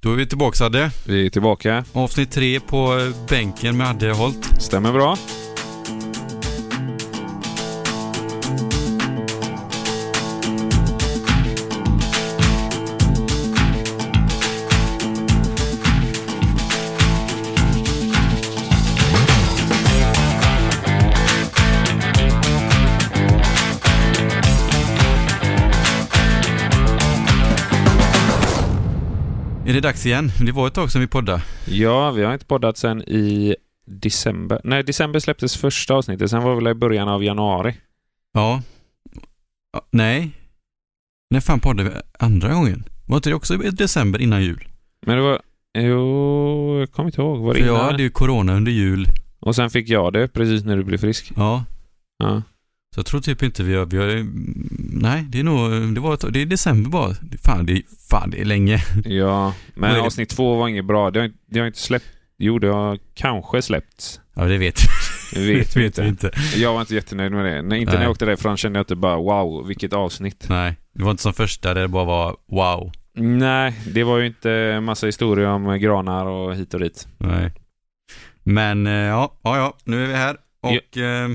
Då är vi tillbaka Adde. Vi är tillbaka. Avsnitt tre på eh, bänken med Adde Holt. Stämmer bra. Är det dags igen? Det var ett tag sedan vi poddade. Ja, vi har inte poddat sen i december. Nej, december släpptes första avsnittet. Sen var väl i början av januari. Ja. Ja, Nej. När fan poddade vi andra gången? Var inte det också i december innan jul? Men det var... Jo, jag kommer inte ihåg. Var det För jag innan? hade ju corona under jul. Och sen fick jag det precis när du blev frisk. Ja. Ja. Så jag tror typ inte vi har... Vi har mm, nej, det är nog... eh, Det, var ett, det är december bara. Fan det, är- fan, det är länge. ja. Vad är Men det? avsnitt två var inget bra. Det har, inte- det har inte släppt... Jo, det har kanske släppts. Ja, det vet vi. Det vet vi inte. inte. Jag var inte jättenöjd med det. Nej, inte när Nej. jag åkte därifrån kände jag inte bara wow, vilket avsnitt. Nej, det var inte som första där det bara var wow. Nej, det var ju inte massa historier om granar och hit och dit. Nej. Men eh, ja, ja, ja, nu är vi här och eh,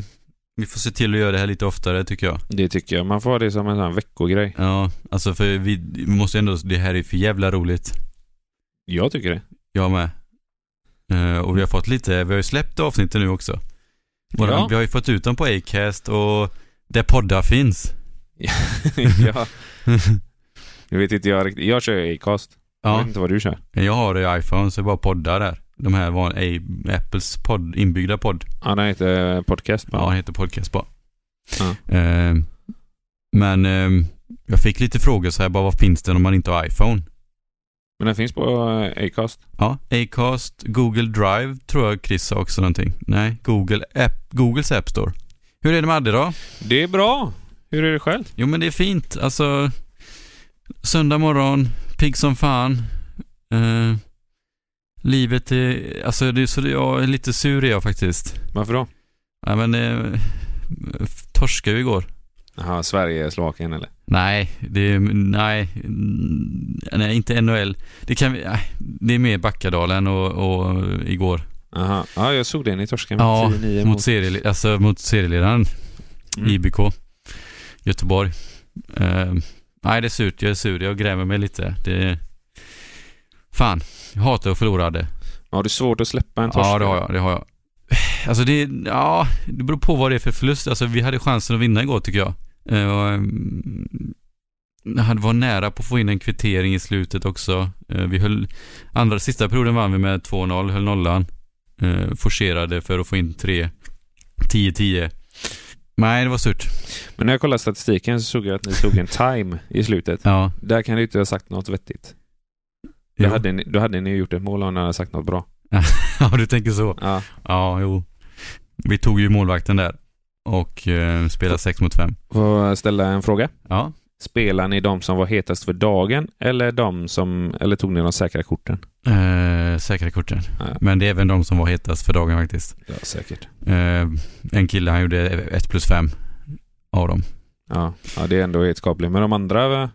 vi får se till att göra det här lite oftare tycker jag. Det tycker jag. Man får ha det som en sån här veckogrej. Ja, alltså för vi, vi måste ändå, det här är för jävla roligt. Jag tycker det. Jag med. Eh, och vi har fått lite, vi har ju släppt avsnitten nu också. Våra, Ja. Vi har ju fått ut dem på Acast och där poddar finns. ja. Nu vet inte jag riktigt. Jag kör ju Acast. Jag ja, vet inte vad du kör. jag har ju iPhone så jag bara poddar där. De här var A- Apples podd, inbyggda podd. Ja, den heter Podcast. Ja, Ja. han heter Podcast bara. Ja. Eh, men eh, jag fick lite frågor så här bara, vad finns det om man inte har iPhone? Men den finns på eh, Acast. Ja, Acast, Google Drive tror jag Chris sa också någonting. Nej, Google app, Googles App Store. Hur är det med Adde då? Det är bra. Hur är det själv? Jo men det är fint, alltså söndag morgon, pigg som fan. Eh, livet är, alltså det är så, jag är lite sur är jag faktiskt. Varför då? Ja men, eh, torskade ju igår. Jaha, Sverige, Slovakien eller? Nej, det är, nej, mm, nej, inte NHL. Det kan vi, nej, det är mer Backadalen och, och igår. Aha. Ja, jag såg den i torsken. Ja, 10-9 Mot, seriele- alltså, mot serieledaren Mm. IBK, Göteborg. Ehm, nej, det är surt. Jag är sur. Jag grämer mig lite. Det, fan, jag hatar att förlora det. Har du svårt att släppa en torsk? Ja, det har jag. Det har jag. Alltså det, ja, det beror på vad det är för förlust. Alltså vi hade chansen att vinna igår tycker jag. Eh, och, mm, Han var nära på att få in en kvittering i slutet också. Eh, Vi höll, andra, sista perioden vann vi med 2-0, höll nollan. Eh, Forcerade för att få in 3, 10-10. Nej, det var surt. Men när jag kollade statistiken så såg jag att ni tog en time i slutet. Ja. Där kan du inte ha sagt något vettigt. Då Jo. hade, ni, då hade ni gjort ett mål om ni hade sagt något bra. ja, du tänker så. Ja. Ja, jo. Vi tog ju målvakten där och eh, spelade 6 mot 5. Får jag ställa en fråga? Ja. Spelar ni de som var hetast för dagen eller de som... Eller tog ni de säkra korten? Eh, säkra korten. Ja. Men det är även de som var hetast för dagen faktiskt. Ja, säkert. Eh, en kille han gjorde 1 plus 5 av dem. Ja, ja det är ändå helt skapligt. Men de andra... va?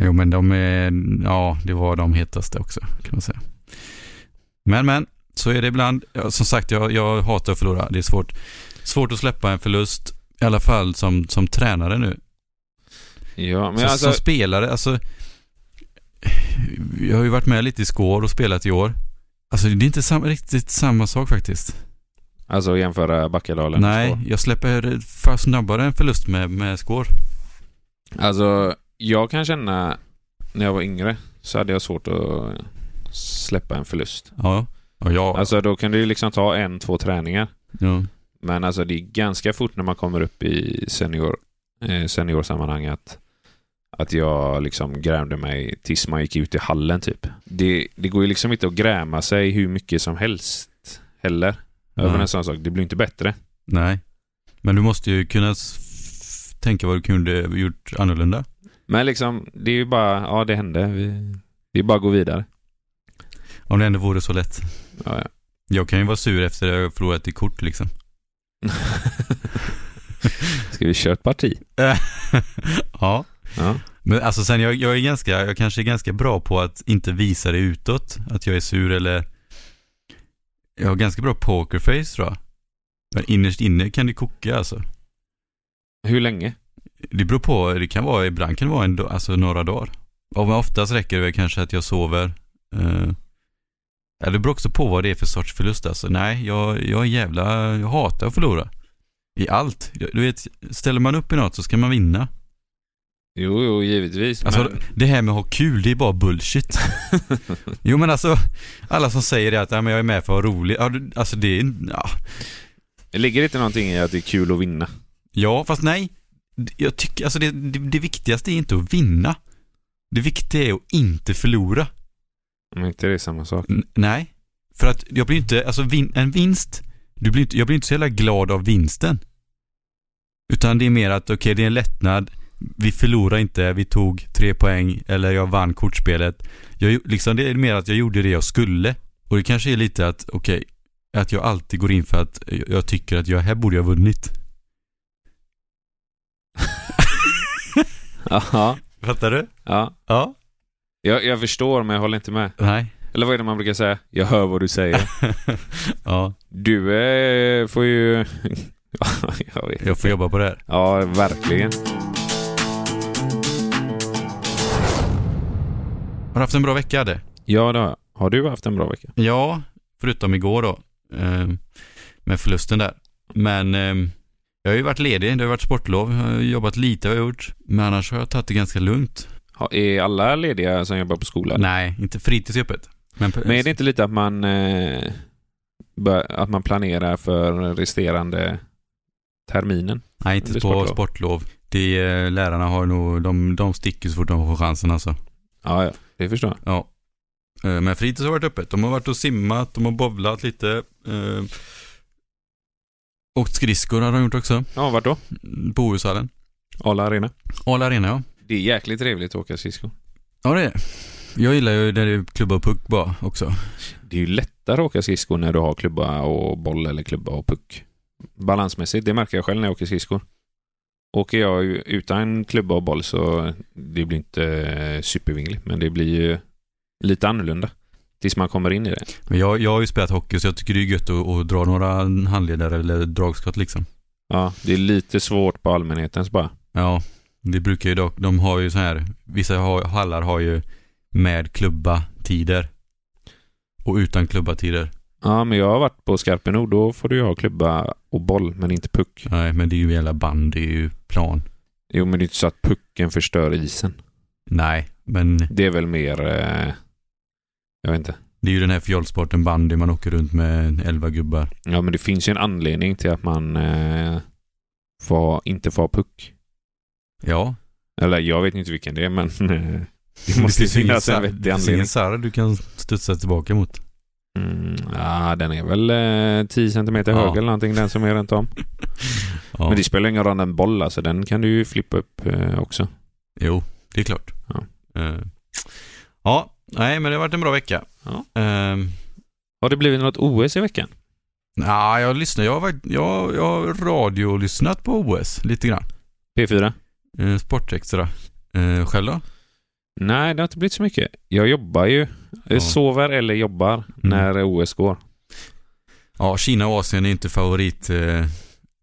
Jo men de är, ja det var de hetaste också kan man säga. Men men, så är det ibland. Ja, Som sagt jag, jag hatar att förlora. Det är svårt. Svårt att släppa en förlust. I alla fall som, som tränare nu. Ja, men Så, alltså... Som spelare, alltså. Jag har ju varit med lite i skår och spelat i år. Alltså det är inte sam, riktigt samma sak faktiskt. Alltså jämföra Backadalen och Nej, så. jag släpper för snabbare en förlust med, med skår. Alltså, jag kan känna... När jag var yngre så hade jag svårt att släppa en förlust. Ja, ja, ja. Alltså då kan du ju liksom ta en, två träningar. ja. Men alltså det är ganska fort när man kommer upp i senior, eh, seniorsammanhang att, att jag liksom grämde mig tills man gick ut i hallen typ. Det, det går ju liksom inte att gräma sig hur mycket som helst heller. Över Nej. en sån sak. Det blir inte bättre. Nej. Men du måste ju kunna s- tänka vad du kunde gjort annorlunda. Men liksom, det är ju bara, ja det hände. Vi, det är bara att gå vidare. Om det ändå vore så lätt. Ja, ja. Jag kan ju vara sur efter att jag har förlorat i kort liksom. Ska vi köra ett parti? ja, Ja. Men alltså sen, jag, jag, är ganska, jag kanske är ganska bra på att inte visa det utåt, att jag är sur eller... Jag har ganska bra pokerface tror jag. Men innerst inne kan det koka alltså. Hur länge? Det beror på, det kan vara, ibland kan det vara en, do- alltså några dagar. Och men oftast räcker det väl kanske att jag sover. Eh, ja, det beror också på vad det är för sorts förlust alltså. Nej, jag, jag är jävla, jag hatar att förlora. I allt. Du vet, ställer man upp i något så ska man vinna. Jo, jo, givetvis. Alltså, men... Det här med att ha kul, det är bara bullshit. jo men alltså, alla som säger det att ja, men jag är med för att ha roligt. Ja, du- Alltså det är, ja. Ligger det inte någonting i att det är kul att vinna? ja fast nej. Jag tycker, alltså det, det, det viktigaste är inte att vinna. Det viktiga är att inte förlora. Om inte det är samma sak. N- nej. För att jag blir inte, alltså vin, en vinst, du blir inte, jag blir inte så jävla glad av vinsten. Utan det är mer att okej, det är en lättnad. Vi förlorar inte, vi tog tre poäng eller jag vann kortspelet. Jag, gjo- liksom, det är mer att jag gjorde det jag skulle. Och det kanske är lite att, okej, att jag alltid går in för att jag, jag tycker att jag, här borde jag ha vunnit. Aha. Fattar du? Ja. Ja. Jag, jag förstår, men jag håller inte med. Nej. Eller vad är det man brukar säga? Jag hör vad du säger. ja, Du eh, får ju... jag vet. jag får jobba på det här. Ja, verkligen. Har du haft en bra vecka, Adde? Ja, det har jag. Har du haft en bra vecka? Ja, förutom igår då. eh, Med förlusten där. Men eh, jag har ju varit ledig, det har ju varit sportlov, jag har jobbat lite har jag gjort. Men annars har jag tagit det ganska lugnt. Ha, är alla lediga som jobbar på skolan? Nej, inte fritids är öppet. Men, Men är det inte lite att man, eh, bör, att man planerar för resterande terminen? Nej, inte det är på sportlov. sportlov. Det, eh, lärarna har nog, de, de sticker så fort de får chansen alltså. Ja, ja. Det förstår jag. Ja. Eh, Men fritids har varit öppet. De har varit och simmat, de har bowlat lite. eh, Åkt skridskor har de gjort också. Ja, vart då? Mm, På OS-hallen. Arla Arena. Arla Arena ja. Det är jäkligt trevligt att åka skridskor. Ja det är det. Jag gillar ju när det är klubba och puck bara också. Det är ju lättare att åka skridskor när du har klubba och boll eller klubba och puck. Balansmässigt, det märker jag själv när jag åker skridskor. Åker jag ju utan klubba och boll så det blir inte eh, supervingligt, men det blir ju lite annorlunda. Tills man kommer in i det. Men jag, jag har ju spelat hockey så jag tycker det är gött att, att dra några handledare eller dragskott liksom. Ja, det är lite svårt på allmänhetens bara. Ja, det brukar ju dock. De har ju så här, vissa har, hallar har ju med klubba tider. Och utan klubba tider. Ja, men jag har varit på Skarpenord. Då får du ju ha klubba och boll, men inte puck. Nej, men det är ju jävla band, det är ju plan. Jo, men det är inte så att pucken förstör isen. Nej, men Det är väl mer... Eh, jag vet inte. det är ju den här fjollsporten bandy man åker runt med elva gubbar. Ja, men det finns ju en anledning till att man eh, får, ha- inte får ha puck. Ja, Eller jag vet inte vilken det är, men eh, det måste ju finns ingen finnas en sar- vettig det finns ingen anledning. sarg du kan studsa tillbaka mot. Mm, ja, den är väl eh, 10 centimeter Ja. hög eller någonting, den som är runt om. Ja, Men det spelar ingen roll, en boll alltså, den kan du ju flippa upp eh, också. Jo, det är klart. Ja. Eh, ja, nej men det har varit en bra vecka. Ja. Eh, Har det blivit något OS i veckan? nej, jag lyssnar. Jag har, varit- jag, jag har radiolyssnat på OS lite grann. P4? Eh, Sportextra. Eh, själv då? Nej, det har inte blivit så mycket. Jag jobbar ju. Jag Ja. Mm. sover eller jobbar när OS går. Ja, Kina och Asien är inte favorittiderna eh,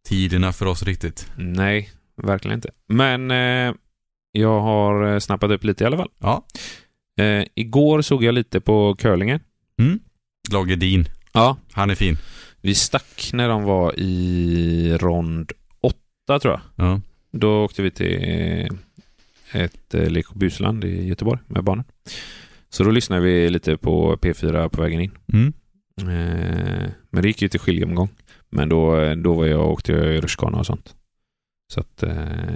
tiderna för oss riktigt. Nej, verkligen inte. Men eh, jag har eh, snappat upp lite i alla fall. Ja. Eh, igår såg jag lite på curlingen. Lagerdin, Ja. han är fin. Vi stack när de var i rond åtta tror jag. Ja. Då åkte vi till eh, ett eh, lek och busland i Göteborg med barnen. Så då lyssnade vi lite på P4 på vägen in. Mm. Eh, Men det gick ju till skiljomgång. Men då, eh, då var jag, åkte jag i rutschkana och sånt. Så att, eh,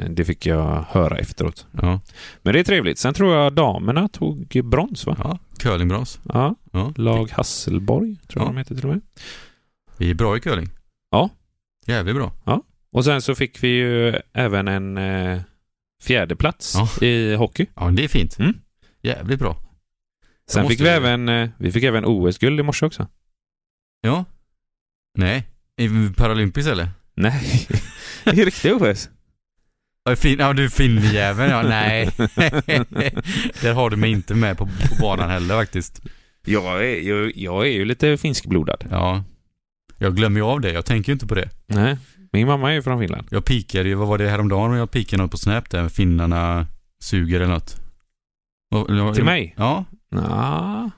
det fick jag höra efteråt. Ja. Men det är trevligt. Sen tror jag damerna tog brons va? ja, curlingbras. Ja. Ja. Lag Hasselborg tror jag Ja. de heter till och med. Vi är bra i curling. Ja. Jävligt bra. Och sen så fick vi ju även en eh, fjärdeplats Ja. i hockey. Ja, det är fint. Mm. Jävligt bra. Sen måste fick vi, ju- även, eh, vi fick även OS-guld i morse också. Ja. Nej. I Paralympics eller? Nej, i riktiga OS. Ja, fin, ja du finnjäveln ja, nej. Där har du mig inte med på, på banan heller faktiskt. Jag är, jag, jag är ju lite finskblodad. Ja. Jag glömmer ju av det, jag tänker ju inte på det. Nej, min mamma är ju från Finland. Jag pikade ju, vad var det häromdagen jag pikade något på Snap där, finnarna suger eller något. Och- eller- Till mig? Ja. Ja.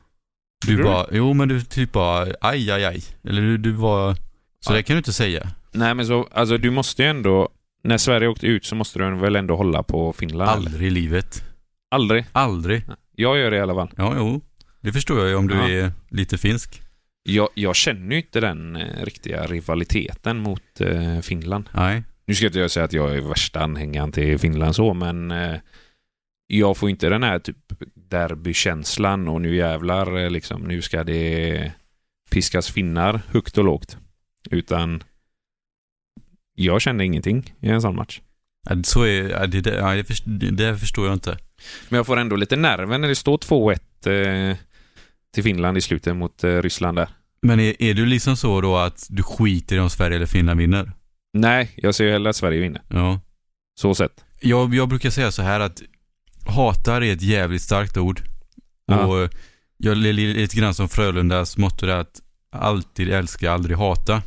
Du Gjorde bara, jo men du typ bara, aj aj aj. Eller du, du var, så Ja. det kan du inte säga. Nej, men så, alltså du måste ju ändå... När Sverige åkte ut så måste du väl ändå hålla på Finland? eller? Aldrig i livet. Aldrig. Aldrig. Jag gör det i alla fall. Ja, jo. Det förstår jag ju om du Ja. är lite finsk. Jag, jag känner ju inte den eh, riktiga rivaliteten mot eh, Finland. Nej. Nu ska inte jag säga att jag är värsta anhängaren till Finland så, men eh, jag får inte den här typ derbykänslan och nu jävlar, eh, liksom, nu ska det piskas finnar högt och lågt. Utan jag kände ingenting i en sån match. Ja, Så är, ja, det, där- ja, det, först- det, det förstår jag inte. Men jag får ändå lite nerver när det står 2-1 eh, till Finland i slutet mot eh, Ryssland där. Men är, är du liksom så då att du skiter i om Sverige eller Finland vinner? Nej, jag ser ju hellre att Sverige vinner. Ja. Så sett. Jag, jag brukar säga så här att hatar är ett jävligt starkt ord. Ja. Och jag är li- lite grann som Frölundas motto där att alltid älska, aldrig hata.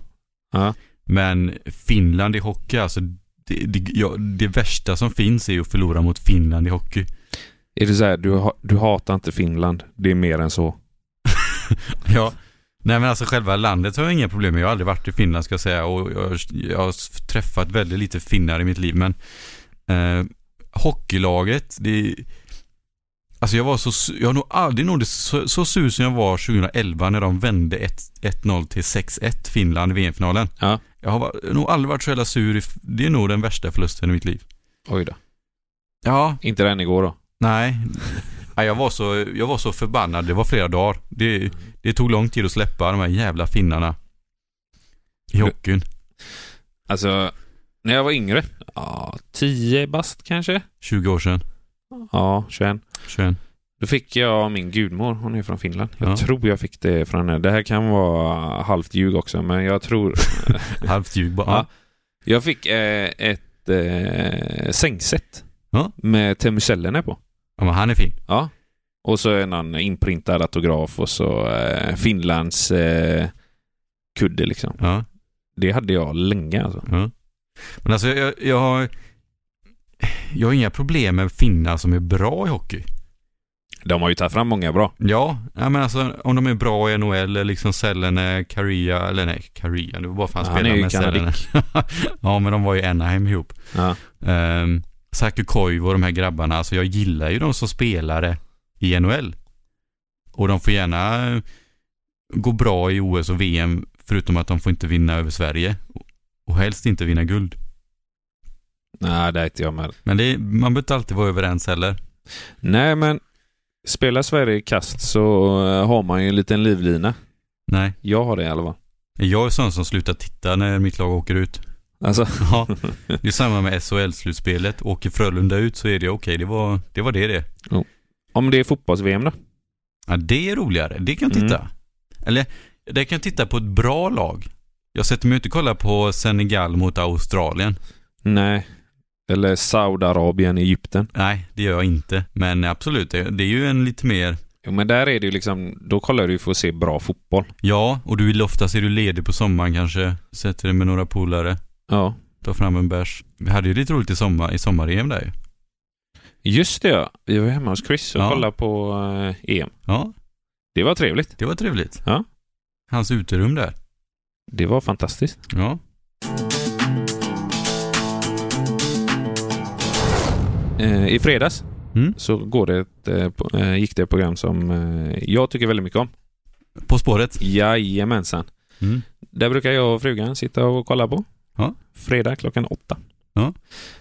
Ja. Men Finland i hockey, alltså det, det, ja, det värsta som finns är ju att förlora mot Finland i hockey. Är det så här, du, ha- du hatar inte Finland. Det är mer än så. Ja. Nej men alltså själva landet har jag inga problem med. Jag har aldrig varit i Finland ska jag säga och jag, jag har träffat väldigt lite finnar i mitt liv men eh, hockeylaget, det Alltså jag var så, su- jag har nog aldrig någonsin så, så sur som jag var 2011 när de vände 1 1-0 till 6-1 Finland i VM-finalen. Ja. Jag har va- nog aldrig varit så jävla sur, i, f- det är nog den värsta förlusten i mitt liv. Oj då. Ja, Inte den igår då. nej. nej jag, var så, jag var så förbannad, det var flera dagar. Det, det tog lång tid att släppa de här jävla finnarna. I hockeyn. Alltså, när jag var yngre. Ja, 10 bast kanske? 20 år sedan. Ja, 21. 21. Då fick jag min gudmor. Hon är från Finland. Jag Ja. tror jag fick det från henne. Det här kan vara halvt ljug också, men jag tror... Halvt ljug bara. Ja. Ja. Jag fick eh, ett eh, sängsätt. Ja. Med Temusellerna på. ja, men han är fin. Ja. Och så är någon inprintad autograf och så eh, Finlands eh, kudde liksom. Ja. Det hade jag länge alltså. Ja. Men alltså jag, jag har... Jag har inga problem med finnar som är bra i hockey. De har ju tagit fram många bra. Ja, nej, men alltså om de är bra i NHL, eller liksom Sellene, Karia, eller nej, Karia, det var bara för han Ja, han spelade är ju med Sellene. ja, men de var ju Anaheim ihop. Ja. Um, Saku Koivu och de här grabbarna, alltså jag gillar ju dem som spelare i NHL. Och de får gärna eh, gå bra i OS och VM, förutom att de får inte vinna över Sverige. Och helst inte vinna guld. Nej, det är inte jag med. Men det, man behöver inte alltid vara överens heller. Nej, men spelar Sverige i kast så eh, har man ju en liten livlina. Nej, Jag har det i alla fall. jag är sån som slutar titta när mitt lag åker ut. Alltså, Ja, det är samma med SHL-slutspelet. Åker Frölunda ut så är det okej, det, var, det var det det. om det är fotbolls-VM då? Ja, det är roligare, det kan jag titta. Eller, det kan jag titta på ett bra lag. Jag sätter mig inte och kollar på Senegal mot Australien. Nej. Eller Saudiarabien, Egypten. Nej, det gör jag inte. Men absolut, det, det är ju en lite mer... Jo, men där är det ju liksom, då kollar du ju för att se bra fotboll. Ja, och du vill oftast är du ledig på sommaren kanske. Sätter dig med några polare, Ja. tar fram en bärs. Vi hade ju lite roligt i sommar, i sommar-EM där ju. Just det ja. Vi var hemma hos Chris och Ja. kollade på eh, EM. Ja, Det var trevligt. det var trevligt. Ja. Hans uterum där. Det var fantastiskt. Ja. Eh, I fredags Mm. så går det ett, eh, po- eh, gick det ett program som eh, jag tycker väldigt mycket om. På spåret. Jajamensan. Mm. Där brukar jag och frugan sitta och kolla på. Ja. Fredag klockan åtta. Ja.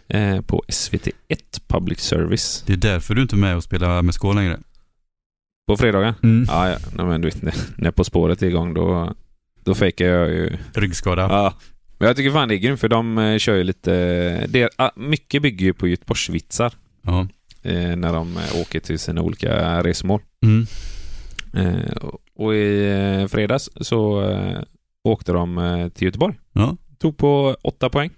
Eh, på SVT1 Public Service. Det är därför du inte är med och spelar med skål längre. På fredagar. Mm. Ja, ja. Nej, men du vet, när, när På spåret är igång då, då fejkar jag ju. Ryggskada. Ja. Men jag tycker fan det är grymt för de eh, kör ju lite... Det, ah, mycket bygger ju på Göteborgsvitsar Ja. eh, när de eh, åker till sina olika resmål. Mm. Eh, och- och i eh, fredags så eh, åkte de eh, till Göteborg. Ja. Tog på åtta poäng.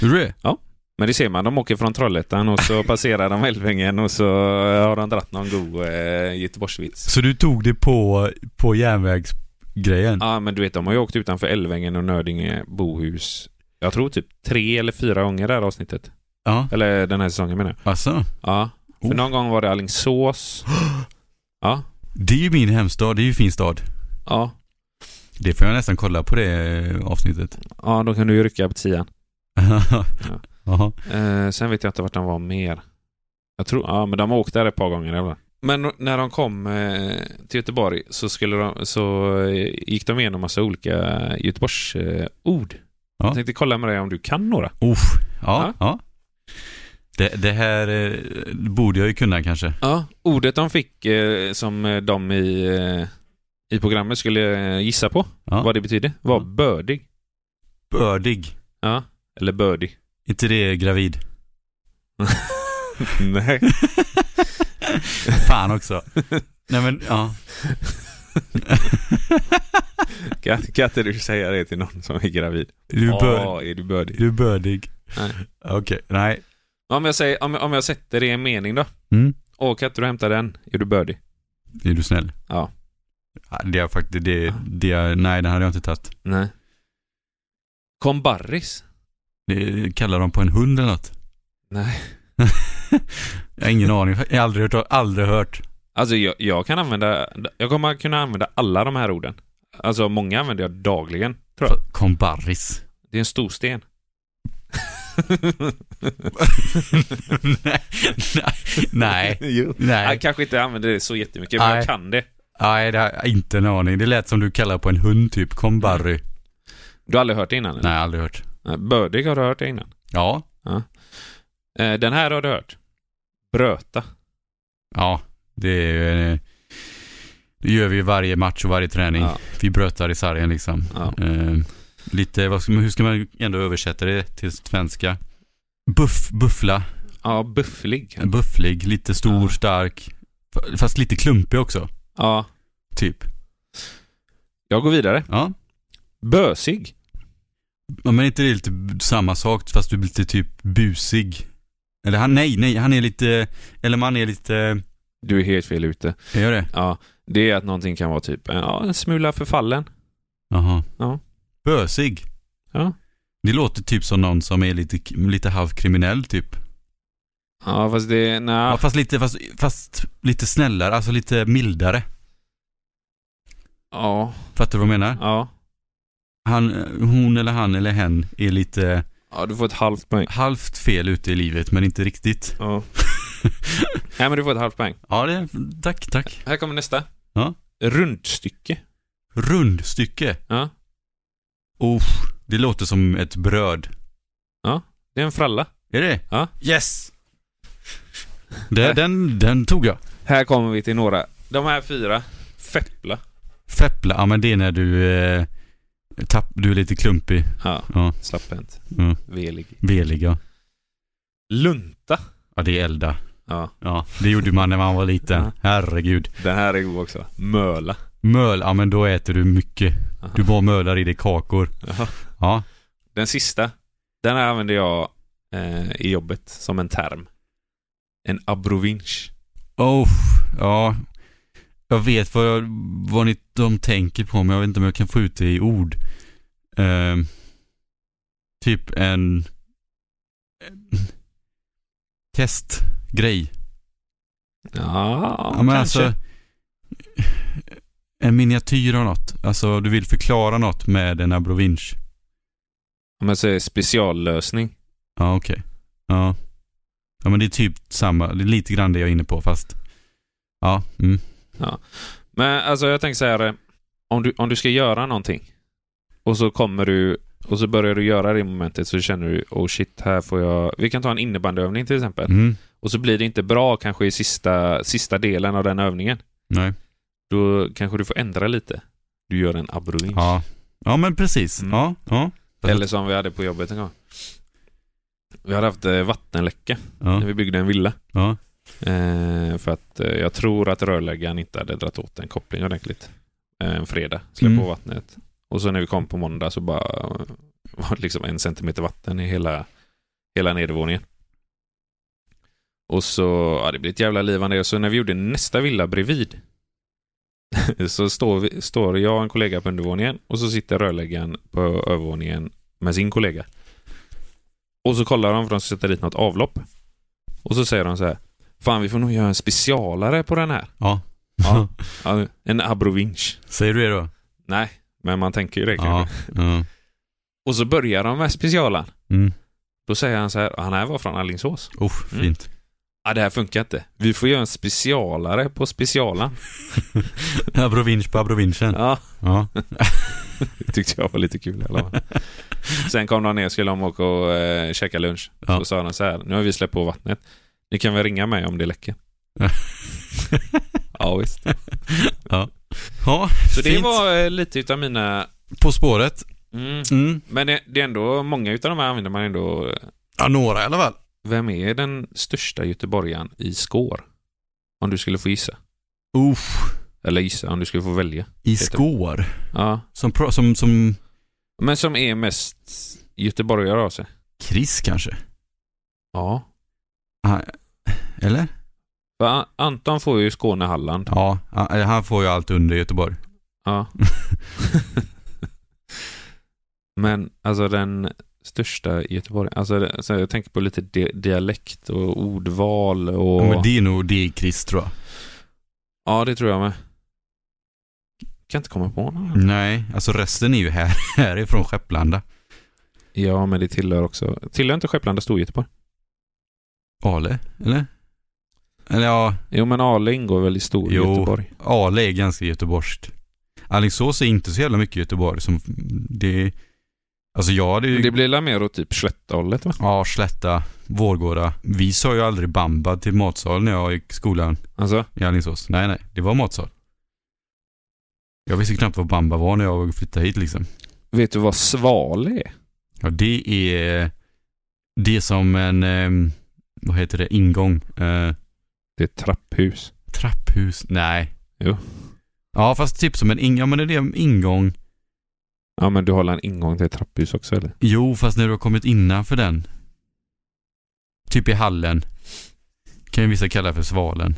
Gjorde du det? Ja. Men det ser man, de åker från Trollhättan och så passerar de Älvängen och så eh, har de dratt någon god eh, Göteborgsvits. Så du tog det på, på järnvägsgrejen? Ja, men du vet, de har ju åkt utanför Älvängen och Nödinge, Bohus. Jag tror typ tre eller fyra gånger det här avsnittet. Ja. Eller den här säsongen menar jag. Alltså, Ja. För Oh. någon gång var det Alingsås. Ja. det är ju min hemstad, det är ju en fin stad. Ja. Det får jag nästan kolla på det eh, avsnittet. Ja, då kan du ju rycka på tian. Jaha. Eh, sen vet jag inte vart de var mer. Jag tror, ja men de har åkt där ett par gånger i alla fall. Men när de kom eh, till Göteborg så, skulle de, så eh, gick de igenom massa olika Göteborgsord. Eh, ord. Ja. Jag tänkte kolla med dig om du kan några. Uff, Ja. ja. ja. Det, det här eh, borde jag ju kunna kanske. Ja, ordet de fick eh, som eh, de i, eh, i programmet skulle eh, gissa på Ja. vad det betydde var Ja. bördig. Bördig. Ja, eller bördig. inte det gravid? Nej. Fan också. Nej men, ja. Kan, kan inte du säga det till någon som är gravid? Du är, bör, Ja, är du bördig? du är bördig. Nej. Okej, nej. Om jag, säger, om, jag- om jag sätter det i en mening då. Mm. Åh, kan inte du hämta den? Är du bördig? Är du snäll? Ja. Ja, Det är faktiskt, det, det, nej den hade jag inte tagit. Nej. Kom Barris? Det kallar de på en hund eller något. Nej. Jag har ingen aning, jag har aldrig hört, aldrig hört. Alltså jag, jag kan använda, jag kommer att kunna använda alla de här orden. Alltså många använder jag dagligen. Tror jag. Kombarris. Det är en stor sten. nej, nej, jo. nej, Jag kanske inte använder det så jättemycket, men Nej. jag kan det. nej, det har jag inte en aning. Det lät som du kallar på en hund typ, kombarri. Mm. Du har aldrig hört det innan? eller? Nej, aldrig hört. Nej. Bördig har du hört det innan. Ja, Eh, Den här har du hört. Bröta. ja, det är ju, eh, det gör vi ju varje match och varje träning. Ja. Vi brötar i sargen liksom. Ja. Eh, lite, vad ska, men hur ska man ändå översätta det till svenska? Buff, buffla, ja, bufflig. bufflig, lite stor, Ja. stark, f- fast lite klumpig också, Ja, typ. jag går vidare. Ja, Bösig. Ja, men är inte det lite b- samma sak fast du blir lite typ busig? Eller han, nej, nej, han är lite, eller man är lite, Du är helt fel ute. jag gör det? Ja, det är att någonting kan vara typ ja, en smula förfallen. Jaha. Ja. Bösig. Ja. Det låter typ som någon som är lite, k- lite halvkriminell typ. Ja, fast det, Ja. nej. fast lite, fast, fast lite snällare, alltså lite mildare. Ja, Fattar du vad jag menar? ja. Han, hon eller han eller hen är lite Ja, du får ett halvt poäng. halvt fel ute i livet men inte riktigt. Ja. nej, men du får ett halvt poäng. Ja, det, tack, tack. Här kommer nästa. Ja. Rundstycke. Rundstycke. Ja. Uff, det låter som ett bröd. Det är en fralla. Är det? Ja. Yes! Det, den, den tog jag. Här kommer vi till några. De här fyra. Feppla. Feppla, ja men det är när du, eh, tapp, du är lite klumpig. Ja, Ja. slapphänt. Mm. Velig. Velig ja. Lunta. Ja det är elda. Ja, Ja, det gjorde man när man var liten. Ja. Herregud. den här är god också. Möla. Möl, ja men då äter du mycket. Du bara mölar i dig kakor. Ja. Ja, Den sista. Den här använder jag eh, i jobbet som en term. En abrovinsch. oh, ja. Jag vet vad, jag, vad ni, de tänker på men jag vet inte om jag kan få ut det i ord. Ehm, typ en, en testgrej. Ja, Ja, men alltså, en miniatyr av något. Alltså du vill förklara något med en abrovinsch. Om jag säger speciallösning. Ja, okej. Ja. ja, men det är typ samma. Det är lite grann det jag är inne på fast. Ja, mm. Men alltså jag tänker så här. eh, Om du, om du ska göra någonting och så kommer du och så börjar du göra det momentet så känner du oh shit, här får jag... Vi kan ta en innebandyövning till exempel. mm. Och så blir det inte bra kanske i sista, sista delen av den övningen. Nej. Då kanske du får ändra lite. Du gör en abrovinsch. Ja. ja, men precis. Mm. Ja, ja. Eller som vi hade på jobbet en gång. Vi hade haft eh, vattenläcka ja. när vi byggde en villa. ja. Eh, för att eh, jag tror att rörläggaren inte hade dragit åt en koppling ordentligt. Eh, en fredag, släpp Mm. på vattnet. Och så när vi kom på måndag så bara eh, var det liksom en centimeter vatten i hela, Hela nedervåningen. Och så, ja det blir ett jävla liv där. Så när vi gjorde nästa villa bredvid så står, vi, står jag och en kollega på undervåningen och så sitter rörläggaren på övervåningen med sin kollega. Och så kollar de för de ska sätta dit något avlopp. Och så säger de så här. Fan vi får nog göra en specialare på den här. Ja. Ja. Ja, En abrovinch. Säger du det då? Nej, men man tänker ju det kanske. Ja. ja. Och så börjar de med specialen. Mm. Då säger han så här, han här var från Allingsås. Oh, fint. Ja, det här funkar inte. Vi får göra en specialare på specialen. Abrovinch på abrovinchen. Ja, Ja. det tyckte jag var lite kul i alla fall. Sen kom de ner, skulle de åka och eh, käka lunch. Ja. Så sa de så här, nu har vi släppt på vattnet. Ni kan väl ringa mig om det läcker. Ja, visst. ja, Så det fint. var eh, lite utav mina... På spåret. Mm. Mm. Men det, det är ändå, många utav de här använder man ändå. Ja, några i alla fall. Vem är den största göteborgaren i skår? Om du skulle få gissa. Uff. Eller gissa, om du skulle få välja. I skår. Ja. Som, pro- som, som Men som är mest göteborgare av sig. Chris kanske? Ja. Eller? För An- Anton får ju Skåne-Halland. Ja, han han får ju allt under Göteborg. Ja. Men alltså den största i Göteborg. Alltså, det- så jag tänker på lite di- dialekt och ordval och... Ja, men det är nog det är Chris tror jag. Ja, det tror jag med. Kan inte komma på någon. Nej, alltså resten är ju här, härifrån Skepplanda. Ja, men det tillhör också... Tillhör inte Skepplanda Storgöteborg? Ale, eller? Eller ja, Jo, men Ale ingår väl i Storgöteborg? Ale är ganska göteborgskt. Alingsås är inte så jävla mycket Göteborg som det... Alltså ja, det är ju... Det blir väl mer åt typ Slättahållet, va? Ja, Slätta, Vårgårda. Vi sa ju aldrig bamba till matsal när jag gick i skolan Alltså, i Alingsås. Nej, nej, det var matsal. Jag visste knappt vad bamba var när jag flyttade hit liksom. vet du vad Sval är? Ja, det är det är som en, ehm, vad heter det, ingång. Eh, Det är ett trapphus. trapphus, nej. Jo. Ja, fast typ som en ingång, ja men det är det, en ingång. Ja, men du har en ingång till ett trapphus också, eller? Jo, fast när du har kommit innanför den. Typ i hallen. Kan ju vissa kalla för svalen.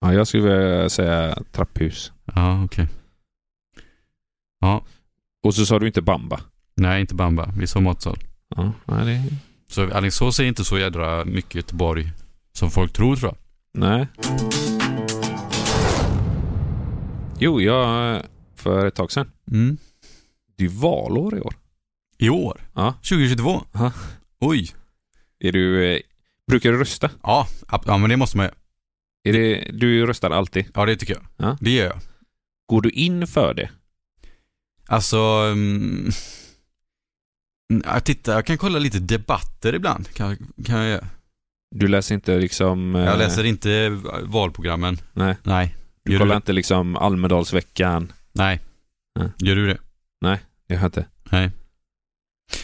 Ja, jag skulle vilja säga trapphus. Ja, okej. Och så sa du inte bamba. Nej, inte bamba. Vi sa matsal. Ja, nej, det... Så Alingsås är inte så jädra mycket Göteborg som folk tror tror jag. nej. Jo, jag... För ett tag sedan. Mm. Det är ju valår i år. I år? Ja. 2022? Ja. Oj. Är du... eh, Brukar du rösta? Ja, ab- ja, men det måste man ju. Är det, du röstar alltid. Ja, det tycker jag. Ja. Det gör jag. Går du in för det? Alltså, mm, jag, tittar, jag kan kolla lite debatter ibland. Kan, kan jag, göra. Du läser inte liksom... eh, jag läser inte valprogrammen. Nej. Nej. Du Gör du kollar det? inte liksom Almedalsveckan? Nej. Nej. Gör du det? Jag har inte. Nej.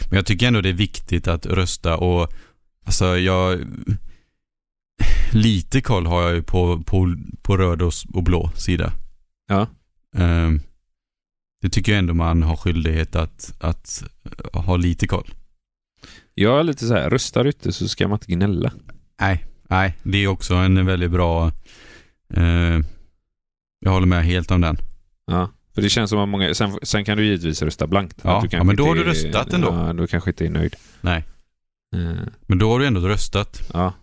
Men jag tycker ändå det är viktigt att rösta och alltså jag lite koll har jag ju på, på, på röd och, s- och blå sida. Ja. Ehm, det tycker jag ändå man har skyldighet att, att ha lite koll. Jag är lite så här, röstar du inte så ska man inte gnälla. Nej, nej, det är också en väldigt bra... Eh, jag håller med helt om den. Ja. För det känns som att många... Sen, sen kan du givetvis rösta blankt. Ja, Att du ja, kanske men då har inte du är- röstat ändå. Ja, du kanske inte är nöjd. Nej. Eh, Men då har du ändå röstat. Ja.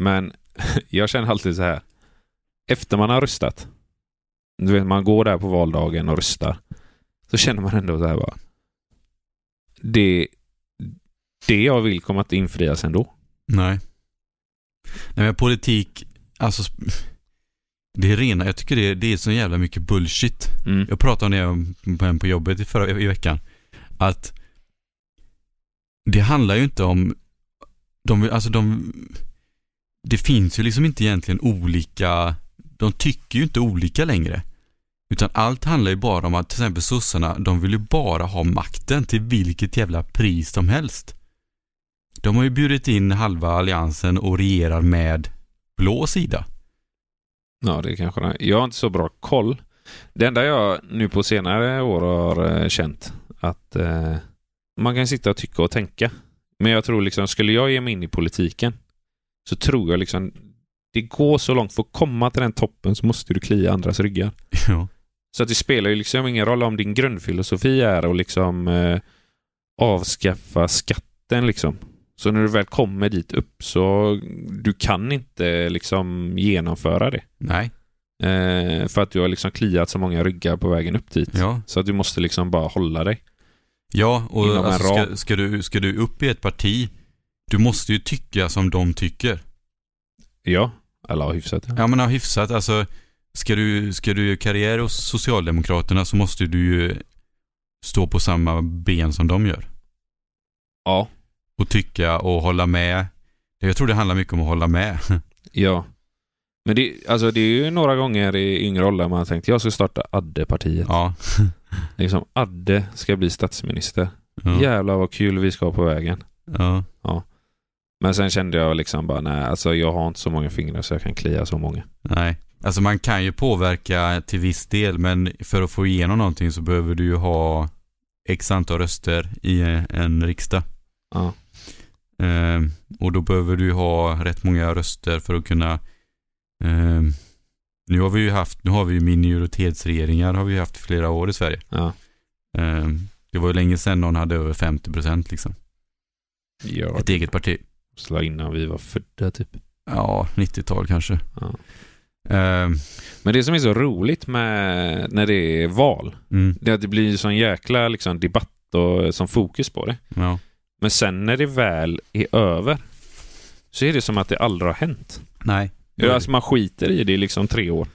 Men jag känner alltid så här. Efter man har röstat. Du vet, man går där på valdagen och röstar. Så känner man ändå så här bara. Det, det jag vill kommer att infrias ändå. Nej. Nej men politik, alltså... sp- Det är rena, jag tycker det är, det är så jävla mycket bullshit. Mm. Jag pratade om det med en på jobbet i förra i veckan. Att det handlar ju inte om, de, alltså de, det finns ju liksom inte egentligen olika, de tycker ju inte olika längre. Utan allt handlar ju bara om att till exempel sossarna, de vill ju bara ha makten till vilket jävla pris som helst. De har ju bjudit in halva alliansen och regerar med blå sida. Ja, det kanske det är. Jag har inte så bra koll. Det enda jag nu på senare år har eh, känt att eh, man kan sitta och tycka och tänka Men jag tror liksom, skulle jag ge mig in i politiken så tror jag liksom det går så långt. För att komma till den toppen så måste du klia andras ryggar. Ja. Så att det spelar ju liksom ingen roll om din grundfilosofi är att liksom eh, avskaffa skatten liksom. Så när du väl kommer dit upp så du kan inte liksom genomföra det. Nej. Eh, för att du har liksom kliat så många ryggar på vägen upp dit. Ja. Så att du måste liksom bara hålla dig. Ja, och Inom en alltså, ska, ram. ska, du, ska du upp i ett parti, du måste ju tycka som de tycker. Ja, eller hyfsat. Ja, men ja, hyfsat. Alltså, ska du, ska du göra karriär hos Socialdemokraterna så måste du ju stå på samma ben som de gör. Ja. Och tycka och hålla med. Jag tror det handlar mycket om att hålla med. Ja. Men det, alltså det är ju några gånger i yngre åldrar man har tänkt jag ska starta Adde-partiet. Ja. Liksom, Adde ska bli statsminister. Ja. Jävlar vad kul vi ska ha på vägen. ja. Men sen kände jag liksom bara nej, alltså jag har inte så många fingrar så jag kan klia så många. Nej. Alltså man kan ju påverka till viss del men för att få igenom någonting så behöver du ju ha x antal röster i en riksdag. Ja. Eh, och då behöver du ju ha rätt många röster för att kunna... Eh, nu har vi ju haft, nu har vi ju minoritetsregeringar har vi ju haft flera år i Sverige. Ja. Eh, det var ju länge sedan någon hade över 50 procent liksom. Jag Ett eget parti. slå innan vi var födda typ. Ja, 90-tal kanske. Ja. Eh, Men det som är så roligt med när det är val, mm, det är att det blir sån jäkla liksom, debatt och som fokus på det. ja. Men sen när det väl är över så är det som att det aldrig har hänt. Nej. Ja, alltså man skiter i det i liksom tre år.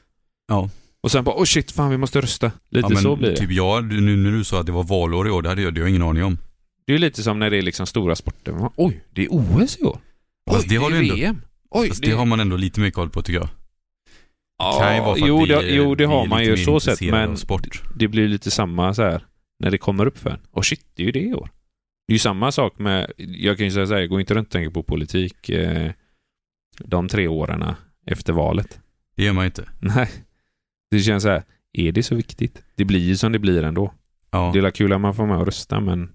Ja. Och sen bara, oh shit, fan vi måste rösta. Lite ja, men så blir det. Typ jag, du- nu när du sa att det var valår i år, det hade jag, det har jag ingen aning om. Det är lite som när det är liksom stora sporter. Man, Oj, det är OS i år. Oj, Fast det har är du ändå- VM. Oj, Fast det... har man ändå lite mer koll på tycker jag. Ja, kan ju vara för att jo, vi, det, jo, det vi har är man lite ju mer så sett, intresserade men av sport. det blir lite samma så här när det kommer upp för en. Och shit, det är ju det i år. Det är ju samma sak med, jag kan ju säga så här, jag går inte runt och tänker på politik eh, de tre åren efter valet. Det gör man ju inte. Nej, det känns så här, är det så viktigt? Det blir ju som det blir ändå. Ja. Det är väl kul att man får med och rösta, men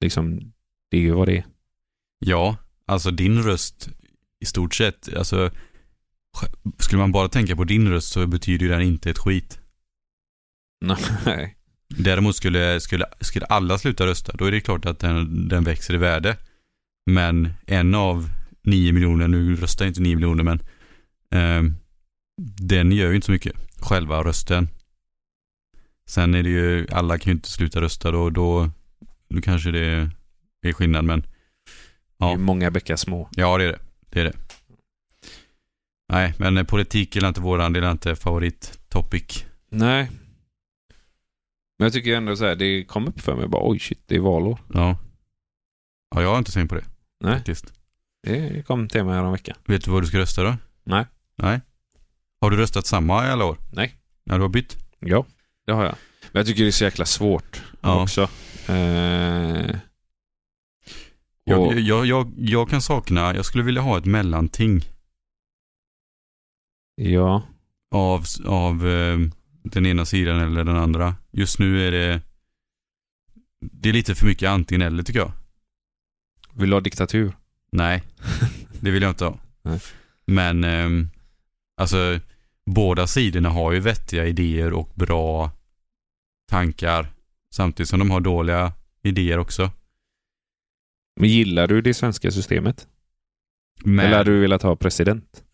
liksom, det är ju vad det är. Ja, alltså din röst i stort sett, alltså sj- skulle man bara tänka på din röst så betyder ju den inte ett skit. Nej. Däremot skulle, skulle, skulle alla sluta rösta, då är det klart att den, den växer i värde. Men en av nio miljoner, nu röstar inte nio miljoner men ehm, den gör ju inte så mycket, själva rösten. Sen är det ju, alla kan ju inte sluta rösta då, då, då kanske det är skillnad men Ja. Det är många bäckar små. Ja, det är det. Det är det. Nej, men eh, politik är inte våran, det är inte favorittopic. Nej. Men jag tycker ändå så här, det kom upp för mig bara oj shit, det är valår. Ja. Ja, jag har inte tänkt på det. Nej. Faktiskt. Det kom till mig häromveckan. Vet du vad du ska rösta då? Nej. Nej. Har du röstat samma i alla år? Nej. När du har bytt? Ja, det har jag. Men jag tycker det är så jäkla svårt Ja. också. Eh, och, Jag, jag, jag, jag kan sakna, jag skulle vilja ha ett mellanting ja, av, av eh, den ena sidan eller den andra. Just nu är det, det är lite för mycket antingen eller tycker jag. vill du ha diktatur? Nej, det vill jag inte ha. Nej. Men ehm, alltså båda sidorna har ju vettiga idéer och bra tankar samtidigt som de har dåliga idéer också. Men gillar du det svenska systemet? Men Eller hade du velat ha president?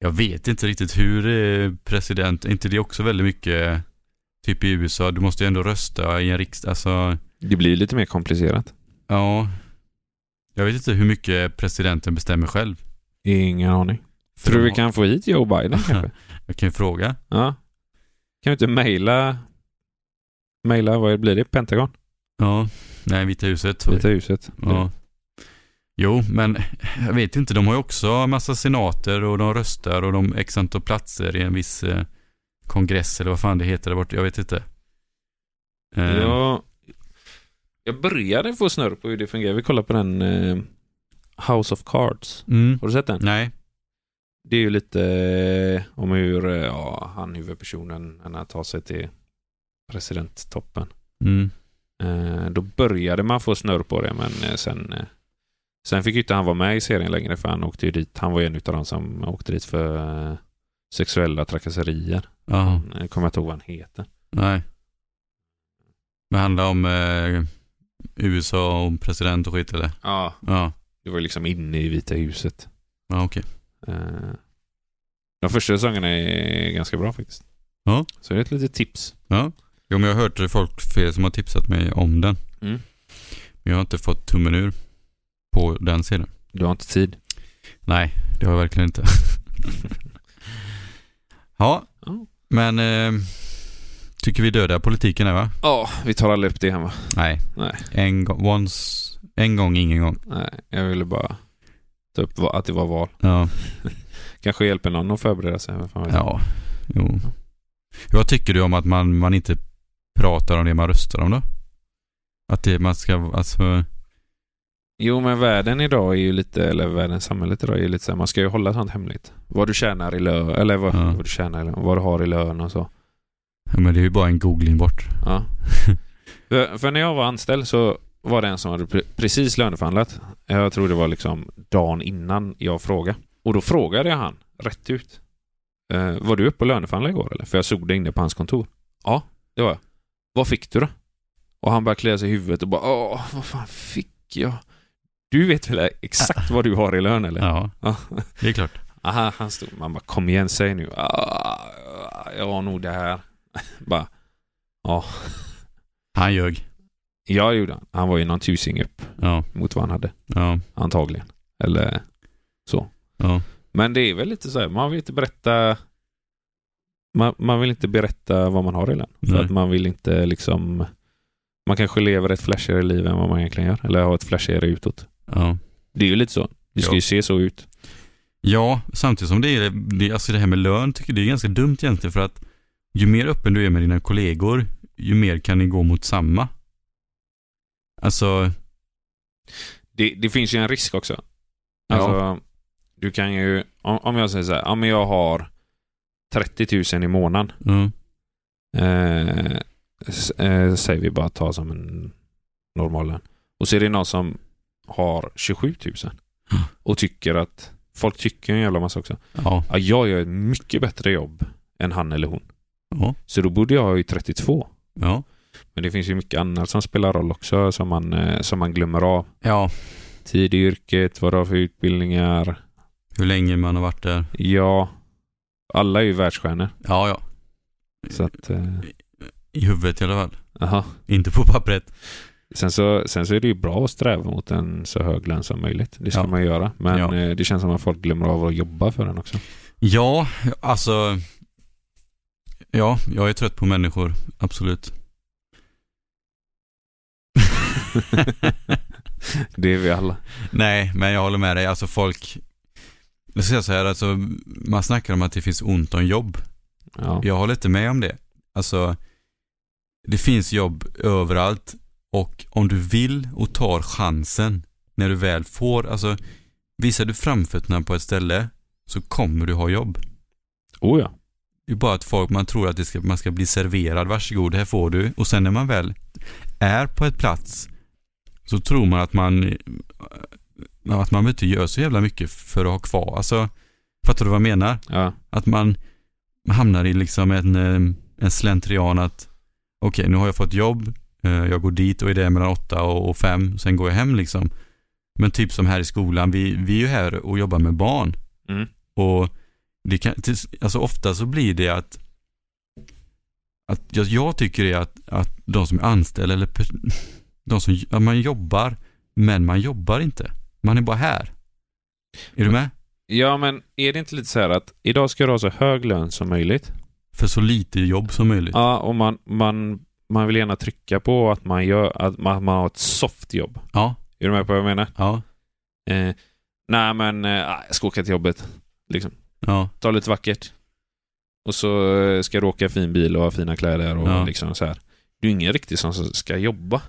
jag vet inte riktigt hur eh, president, är inte det också väldigt mycket typ i USA, du måste ju ändå rösta i en riksdag, alltså Det blir lite mer komplicerat. ja. Jag vet inte hur mycket presidenten bestämmer själv. Ingen aning. För Tror du de vi har- kan få hit Joe Biden kanske? Jag kan ju fråga. Ja. Kan vi inte mejla? Mejla, vad blir det? Pentagon? Ja, nej Vita huset. Vita huset? Ja. Jo, men jag vet inte. De har ju också massa senater och de röstar och de x antal platser i en viss eh, kongress eller vad fan det heter där borta. Jag vet inte. Eh, Jag, jag började få snurr på hur det fungerar. Vi kollar på den eh, House of Cards. Mm. Har du sett den? Nej. Det är ju lite eh, om hur eh, ja, han huvudpersonen han tar sig till presidenttoppen. Mm. Eh, Då började man få snurr på det, men eh, sen, eh, sen fick ju inte han vara med i serien längre för han åkte ju dit. Han var ju en av de som åkte dit för eh, sexuella trakasserier. Ja, Eh, Kommer jag inte ihåg vad han heter. nej. Det handlar om eh, USA och president och skit eller? Ja, Ja, det var ju liksom inne i Vita huset. ja okej. Eh, De första säsongerna är ganska bra faktiskt. Ja. Så det är ett litet tips. Jo men jag har hört det folk fler som har tipsat mig om den. Mm. Men jag har inte fått tummen ur på den sidan. Du har inte tid. Nej, det har jag verkligen inte. ja, Ja. men eh, tycker vi dödar politiken här va? Ja, vi tar aldrig upp det hemma. Nej. Nej. En, gång- once, en gång, ingen gång. Nej, jag ville bara ta upp va- att det var val. Ja. Kanske hjälper någon att förbereda sig. Vem fan vet. ja. Jo. Vad tycker du om att man, man inte pratar om det man röstar om då? Att det, man ska, alltså, Jo, men världen idag är ju lite, eller världen, samhället idag är ju lite så här, man ska ju hålla sånt hemligt. Vad du tjänar i lön, eller vad, Ja. vad du tjänar i lön, vad du har i lön och så. ja, men det är ju bara en googling bort. Ja. för, för när jag var anställd så var det en som hade pre- precis löneförhandlat. Jag tror det var liksom dagen innan jag frågade. Och då frågade jag han rätt ut. Eh, var du uppe och löneförhandlade igår eller? För jag såg det inne på hans kontor. Ja, det var jag. Vad fick du då? Och han började klia sig i huvudet och bara Åh, vad fan fick jag? Du vet väl exakt vad du har i lön eller? Ja, Ja. det är klart. Aha, han stod. Man bara, kom igen, säg nu. Ah, jag har nog det här. bara, Han ljög. ja, det gjorde han. Han var ju någon tusing upp Ja, mot vad han hade. ja, Antagligen. Eller så. ja. Men det är väl lite så här, man vill inte berätta man, man vill inte berätta vad man har i lön. För Nej. att man vill inte liksom Man kanske lever ett flashigare liv än vad man egentligen gör. Eller har ett flashigare utåt. ja. Det är ju lite så. Det ska Ja. ju se så ut. Ja, samtidigt som det är, det, alltså det här med lön tycker jag det är ganska dumt egentligen för att ju mer öppen du är med dina kollegor, ju mer kan ni gå mot samma. Alltså, Det, det finns ju en risk också. Alltså, Du kan ju, om, om jag säger så här, ja men jag har 30 000 i månaden. ja, Eh, s- eh, säger vi bara ta som en normal lön. Och så är det någon som har 27 000 och tycker att folk tycker en jävla massa också. ja, Ja, jag gör ett mycket bättre jobb än han eller hon. ja, Så då borde jag ha ju 32. ja, Men det finns ju mycket annat som spelar roll också som man, eh, som man glömmer av. ja, Tid i yrket, vad du har för utbildningar. hur länge man har varit där. Ja, alla är ju världsstjärnor. Ja, ja, Så att, eh, i huvudet i alla fall. aha. Inte på pappret. Sen så, sen så är det ju bra att sträva mot en så hög lön som möjligt. Det ska Ja. man göra. Men Ja. eh, det känns som att folk glömmer av att jobba för den också. Ja, alltså, ja, jag är trött på människor, absolut. Det är vi alla. Nej, men jag håller med dig. Alltså folk, jag ska säga så här, alltså, man snackar om att det finns ont om jobb. Ja. Jag håller inte med om det. Alltså, det finns jobb överallt och om du vill och tar chansen när du väl får, alltså visar du framfötterna på ett ställe så kommer du ha jobb. Oh ja. Det är bara att folk, man tror att det ska, man ska bli serverad, varsågod, här får du. Och sen när man väl är på ett plats så tror man att man, ja, att man inte gör så jävla mycket för att ha kvar. Alltså, fattar du vad jag menar? ja. Att man hamnar i liksom en, eh, en slentrian att okej, nu har jag fått jobb, eh, jag går dit och är där mellan åtta och och fem, sen går jag hem liksom. Men typ som här i skolan, vi, vi är ju här och jobbar med barn. Mm. Och det kan, tills- alltså ofta så blir det att, att jag, jag tycker det är att, att de som är anställda eller pers- de som, ja, man jobbar, men man jobbar inte. Man är bara här. Är du med? ja, men är det inte lite så här att idag ska du ha så hög lön som möjligt? För så lite jobb som möjligt. Ja, och man, man, man vill gärna trycka på att man, gör, att man, man har ett soft jobb. Ja, Är du med på vad jag menar? ja, Eh, nej, men eh, jag ska åka till jobbet. Liksom. ja. ta lite vackert. Och så eh, ska du åka i fin bil och ha fina kläder och Ja. liksom så här. Du är ingen riktig som ska jobba.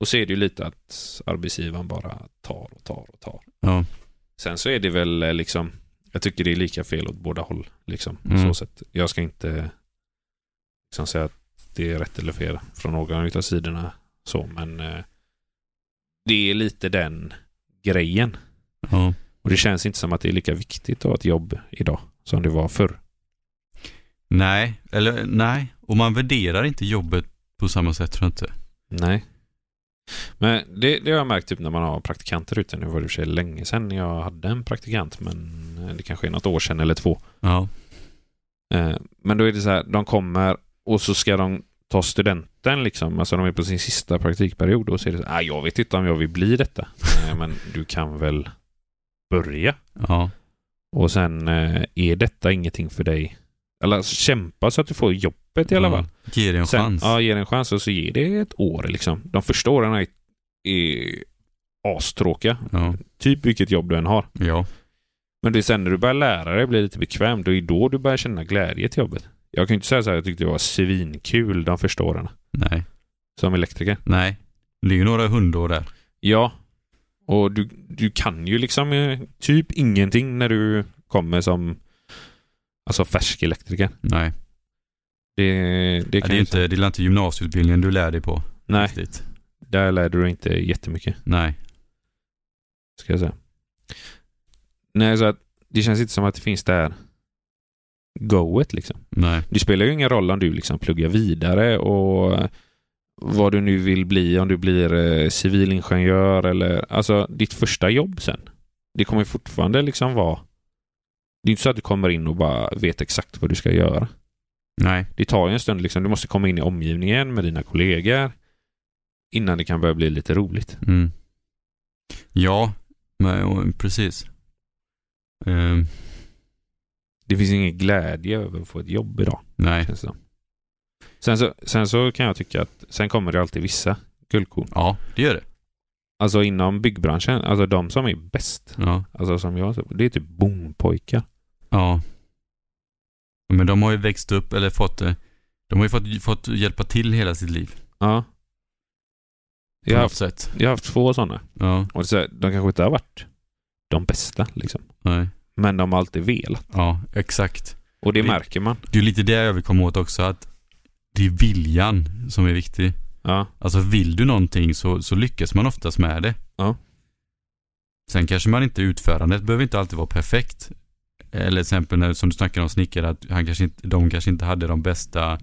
Och så är det ju lite att arbetsgivaren bara tar och tar och tar. Ja. Sen så är det väl eh, liksom, jag tycker det är lika fel åt båda håll. Liksom. på Mm. Så sätt. Jag ska inte liksom säga att det är rätt eller fel från någon av sidorna Så, men eh, det är lite den grejen. Ja. Och det känns inte som att det är lika viktigt att ha ett jobb idag som det var förr. Nej, eller nej. Och man värderar inte jobbet på samma sätt tror jag inte. Nej. Men det, det har jag märkt typ när man har praktikanter ute. Nu var det i och för sig länge sedan jag hade en praktikant, men eh, det kanske är något år sedan eller två. Ja. Eh, Men då är det så här, de kommer och så ska de ta studenten liksom. Alltså de är på sin sista praktikperiod och så är det så här, "Ah, jag vet inte om jag vill bli detta. "Nej, Men du kan väl börja. Ja. Och sen eh, är detta ingenting för dig. Eller alltså, kämpa så att du får jobbet i alla fall. Ja. Ge det en Sen- chans. Ja, ge det en chans och så ger det ett år liksom. De första åren är, är astråkiga. Ja. Typ vilket jobb du än har. ja. Men det är sen när du börjar lära dig, blir lite bekväm, då är det då du börjar känna glädje till jobbet. Jag kan ju inte säga så här, jag tyckte det var svinkul de första åren Nej. som elektriker. Nej. Det är ju några hundår där. Ja, och du, du kan ju liksom eh, typ ingenting när du kommer som alltså färsk elektriker. Nej. Det, det Ja, Det är kan ju ju inte, det är inte gymnasieutbildningen du lär dig på. Nej, Riktigt. där lärde du dig inte jättemycket, Nej. ska jag säga. Nej, så att det känns inte som att det finns det här goet liksom. Nej. Det spelar ju ingen roll om du liksom pluggar vidare och vad du nu vill bli, om du blir eh, civilingenjör eller alltså ditt första jobb sen. Det kommer ju fortfarande liksom vara. Det är inte så att du kommer in och bara vet exakt vad du ska göra. Nej. Det tar ju en stund liksom. Du måste komma in i omgivningen med dina kollegor innan det kan börja bli lite roligt. Mm. Ja. Men, och, precis. Ehm, Det finns ingen glädje över att få ett jobb idag. nej. Känns det som. Sen så, sen så kan jag tycka att sen kommer det alltid vissa guldkorn. Ja, det gör det. Alltså inom byggbranschen, alltså de som är bäst, Ja. alltså som jag ser på, det är typ bonpojkar. Ja. Men de har ju växt upp eller fått eh, de har ju fått, fått hjälpa till hela sitt liv. Ja. På Jag har, något haft, sätt. jag har haft två sådana. Ja. Och så, här, de kanske inte har varit de bästa liksom. Nej. Men de har alltid velat. Ja, exakt. Och det Vi- märker man. Det är lite det jag vill komma åt också. Att det är viljan som är viktig. Ja. Alltså vill du någonting så, så lyckas man oftast med det. Ja. Sen kanske man inte utförandet behöver inte alltid vara perfekt. Eller till exempel när, som du snackade om snickare, att han kanske inte, de kanske inte hade de bästa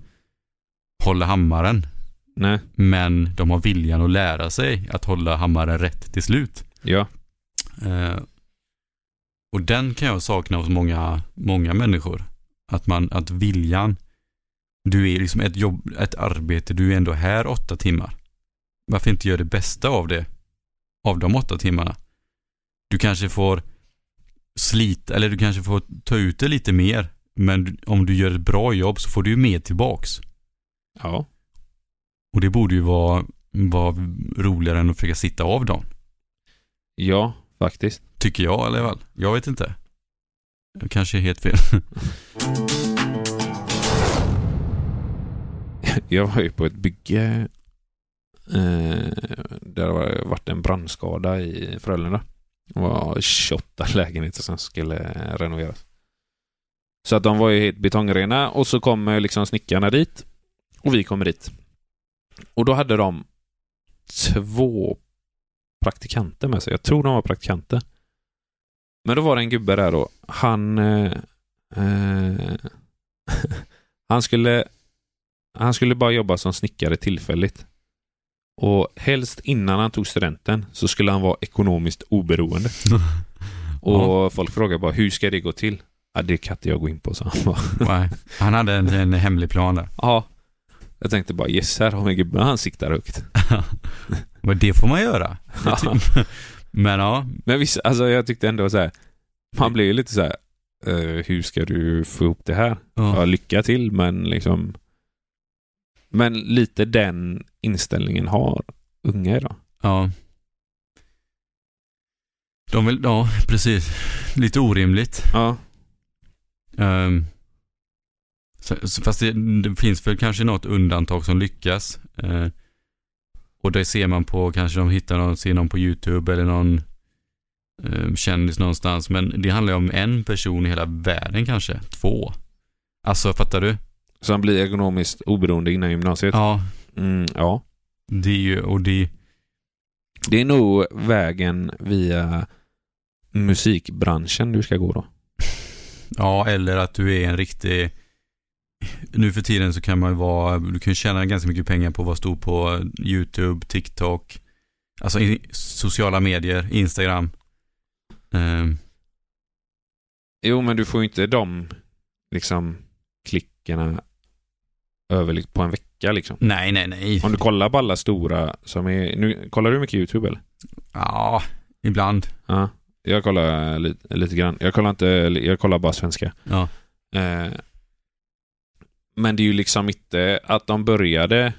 hålla hammaren. Nej. Men de har viljan att lära sig att hålla hammaren rätt till slut. Ja. Eh, och den kan jag sakna hos många, många människor. Att, man, att viljan, du är liksom ett jobb, ett arbete, du är ändå här åtta timmar. Varför inte göra det bästa av det? Av de åtta timmarna. Du kanske får slita, eller du kanske får ta ut det lite mer. Men du- om du gör ett bra jobb så får du ju mer tillbaks. Ja. Och det borde ju vara, vara roligare än att försöka sitta av dem. Ja, faktiskt. Tycker jag i alla fall. Jag vet inte. Jag kanske är helt fel. Jag var ju på ett bygge eh, där det var- varit en brandskada i Frölunda. Det var 28 lägenheter som skulle renoveras. Så att de var ju helt betongrena och så kommer liksom snickarna dit och vi kommer dit. Och då hade de två praktikanter med sig. Jag tror de var praktikanter. Men då var det en gubbe där då. Han... Eh, eh, han skulle han skulle bara jobba som snickare tillfälligt. Och helst innan han tog studenten så skulle han vara ekonomiskt oberoende. Och Ja. folk frågade bara hur ska det gå till? Ja, det kan inte jag gå in på, så han bara. Nej, han hade en, en hemlig plan där. Ja. Jag tänkte bara yes, här har vi gubben, han siktar högt. Men det får man göra. Det typ. ty- Men ja, Men visst, alltså jag tyckte ändå så här. Man blir ju lite så här. eh, hur ska du få ihop det här? Ja, ja, lycka till, men liksom. Men lite den inställningen har unga idag. ja. De vill, ja precis. Lite orimligt. Ja. Ehm, så- så- fast det, det finns väl kanske något undantag som lyckas. Eh, och det ser man på, kanske de hittar någon, ser någon på YouTube eller någon eh, kändis någonstans. Men det handlar ju om en person i hela världen kanske. Två. Alltså fattar du? Så han blir ekonomiskt oberoende innan gymnasiet. Ja, Mm, ja. Det är ju, och det, Det är nog vägen via musikbranschen du ska gå då. ja, eller att du är en riktig, nu för tiden så kan man ju vara, du kan ju tjäna ganska mycket pengar på att vara stor på YouTube, TikTok, alltså i, sociala medier, Instagram. Ehm, Jo, men du får ju inte de liksom klickarna över li- på en vecka liksom. nej, nej, nej. Om du kollar på alla stora som är... Nu, kollar du mycket YouTube eller? Ja, ibland. Ja. Jag kollar lite, lite grann. Jag kollar, inte, jag kollar bara svenska. Ja. Eh, men det är ju liksom inte att de började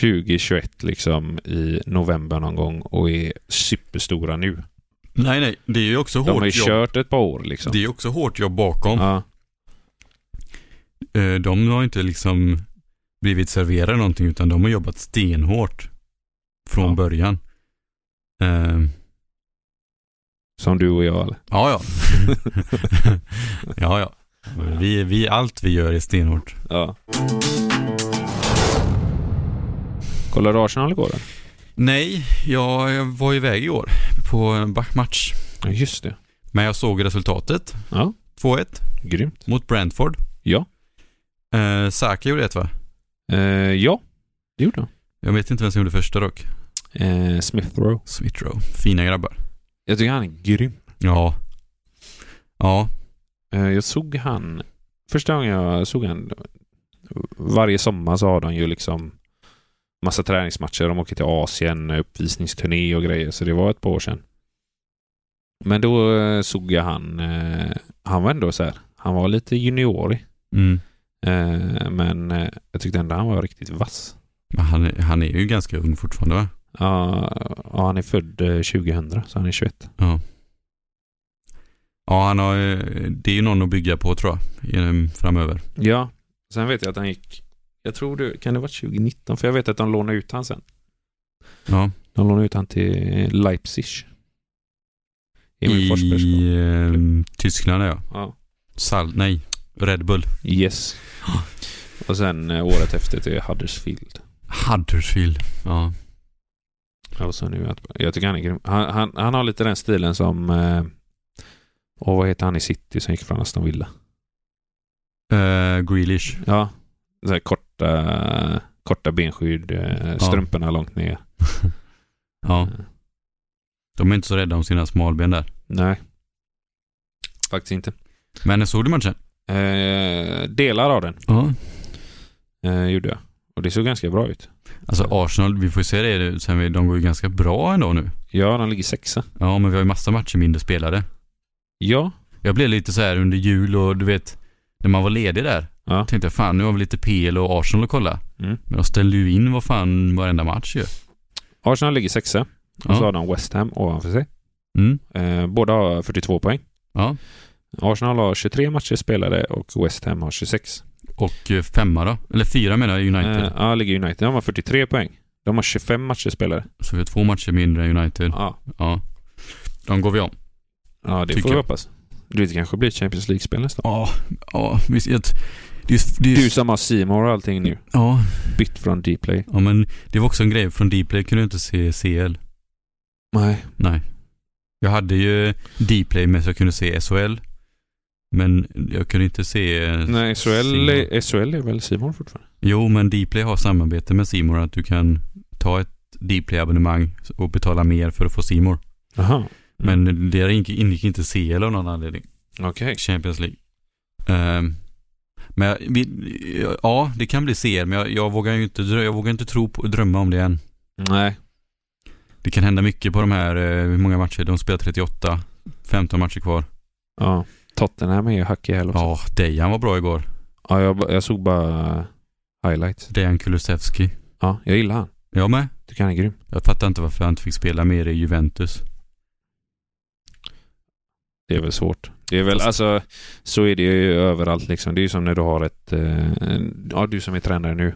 2021 liksom i november någon gång och är superstora nu. Nej, nej, det är ju också De har ju hårt jobb. kört ett par år liksom. Det är ju också hårt jobb bakom. Ja. Eh, De har inte liksom blivit serverade någonting utan de har jobbat stenhårt från Ja. början. Eh, Som du och jag. eller? Ja, ja. ja, ja. Vi, vi, allt vi gör är stenhårt. Ja. Kollar du Arsenal igår? då? Nej, jag, jag var iväg i år på en backmatch. Ja, just det. Men jag såg resultatet. Ja. 2-1 Grymt. mot Brentford. Ja. Eh, Saka gjorde ett va? Eh, ja, det gjorde han. Jag vet inte vem som gjorde första dock. Eh, Smith Rowe. Smith Rowe. Fina grabbar. Jag tycker han är grym. Ja. Ja, Eh, Jag såg han... Första gången jag såg han... Varje sommar så har de ju liksom massa träningsmatcher. De åker till Asien, uppvisningsturné och grejer. Så det var ett par år sedan. Men då eh, såg jag han... eh, Han var ändå så här. Han var lite juniorig. mm. eh, Men eh, jag tyckte ändå han var riktigt vass. Men han, är- han är ju ganska ung fortfarande va? Ja, ja, han är född eh, 2000, så han är 21. Ja, han har, eh, det är ju någon att bygga på tror jag, i- framöver. Ja, sen vet jag att han gick... Jag tror det... Kan det vara 2019? För jag vet att de lånade ut han sen. Ja. De lånade ut han till Leipzig. Emil Forsbergs klubb. I eh, Tyskland ja. ja. Sal, nej, Red Bull. Yes. Och sen eh, året efter till Huddersfield. Huddersfield. Ja. Och så nu, att- jag tycker han är grym. Han, han, han har lite den stilen som... eh, Och vad heter han i City som gick från Aston Villa? Eh, Grealish. Ja. Så här korta, korta benskydd, eh, strumporna långt ner. Eh, Ja, de är inte så rädda om sina smalben där. Nej. Faktiskt inte. Men såg du matchen? Eh, delar av den Ja. eh, gjorde jag. Och det såg ganska bra ut. Alltså Arsenal, vi får ju se det sen, vi- de går ju ganska bra ändå nu. Ja, de ligger sexa. Ja, men vi har ju massa matcher mindre spelade. Ja. Jag blev lite så här under jul och du vet, när man var ledig där. Ja. Tänkte jag fan nu har vi lite PL och Arsenal att kolla. Mm. Men de ställde ju in vad fan varenda match ju. Arsenal ligger sexa. Och Ja. så har de West Ham ovanför sig. Mm. Eh, båda har 42 poäng. Ja. Arsenal har 23 matcher spelade och West Ham har 26. Och eh, femma då? Eller fyra menar jag, Eh, United. ja, ligger United. De har 43 poäng. De har 25 matcher spelade. Så vi har två matcher mindre än United. Ja, Ja. De går vi om. ja det Tycker får vi jag. hoppas. Du vet, det kanske blir Champions League-spel nästa år. Ja, ja visst. jag- Det är, det är, Du som har C More och allting nu. ja, Bytt från Dplay. ja, men det var också en grej. Från Dplay kunde jag inte se CL. Nej. Nej. Jag hade ju Dplay men så jag kunde se SHL. Men jag kunde inte se... eh, Nej, SHL, C More. är- SHL är väl C More fortfarande? Jo, men Dplay har samarbete med Simor att du kan ta ett Dplay-abonnemang och betala mer för att få Simor. Jaha. Mm. Men det ingick, ingick inte CL av någon anledning. Okej. Champions League. Ehm, men jag, vi, ja, det kan bli CL, men jag, jag vågar ju inte, drö- jag vågar inte tro på, drömma om det än. Nej. Det kan hända mycket på de här, eh, hur många matcher? De spelar 38, 15 matcher kvar. Ja. Tottenham är ju hack i häl också. Ja, Dejan var bra igår. Ja, jag, ba- jag såg bara eh, highlights. Dejan Kulusevski. Ja, jag gillar han. Jag med. Tycker han är grym. Jag fattar inte varför han inte fick spela mer i Juventus. Det är väl svårt. Det är väl, alltså, så är det ju överallt liksom. Det är ju som när du har ett, eh, en- ja du som är tränare nu.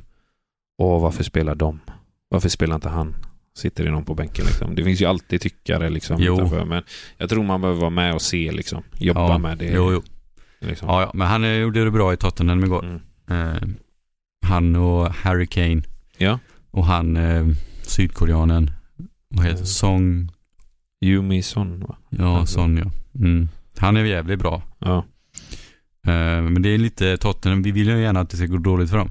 Åh, varför spelar de? Varför spelar inte han? Sitter det någon på bänken liksom. Det finns ju alltid tyckare liksom. Jo. Utanför, men jag tror man behöver vara med och se liksom. Jobba ja, med det. Jo, jo. Liksom. Ja, ja, men han eh, gjorde det bra i Tottenham igår. Mm. Ehm, han och Harry Kane. Ja. Och han, eh, sydkoreanen, vad heter Mm. Song, Yumi Son va? ja, Mm. Son ja. Mm. Han är jävligt bra. Ja. Eh, men det är lite Tottenham, vi vill ju gärna att det ska gå dåligt för dem.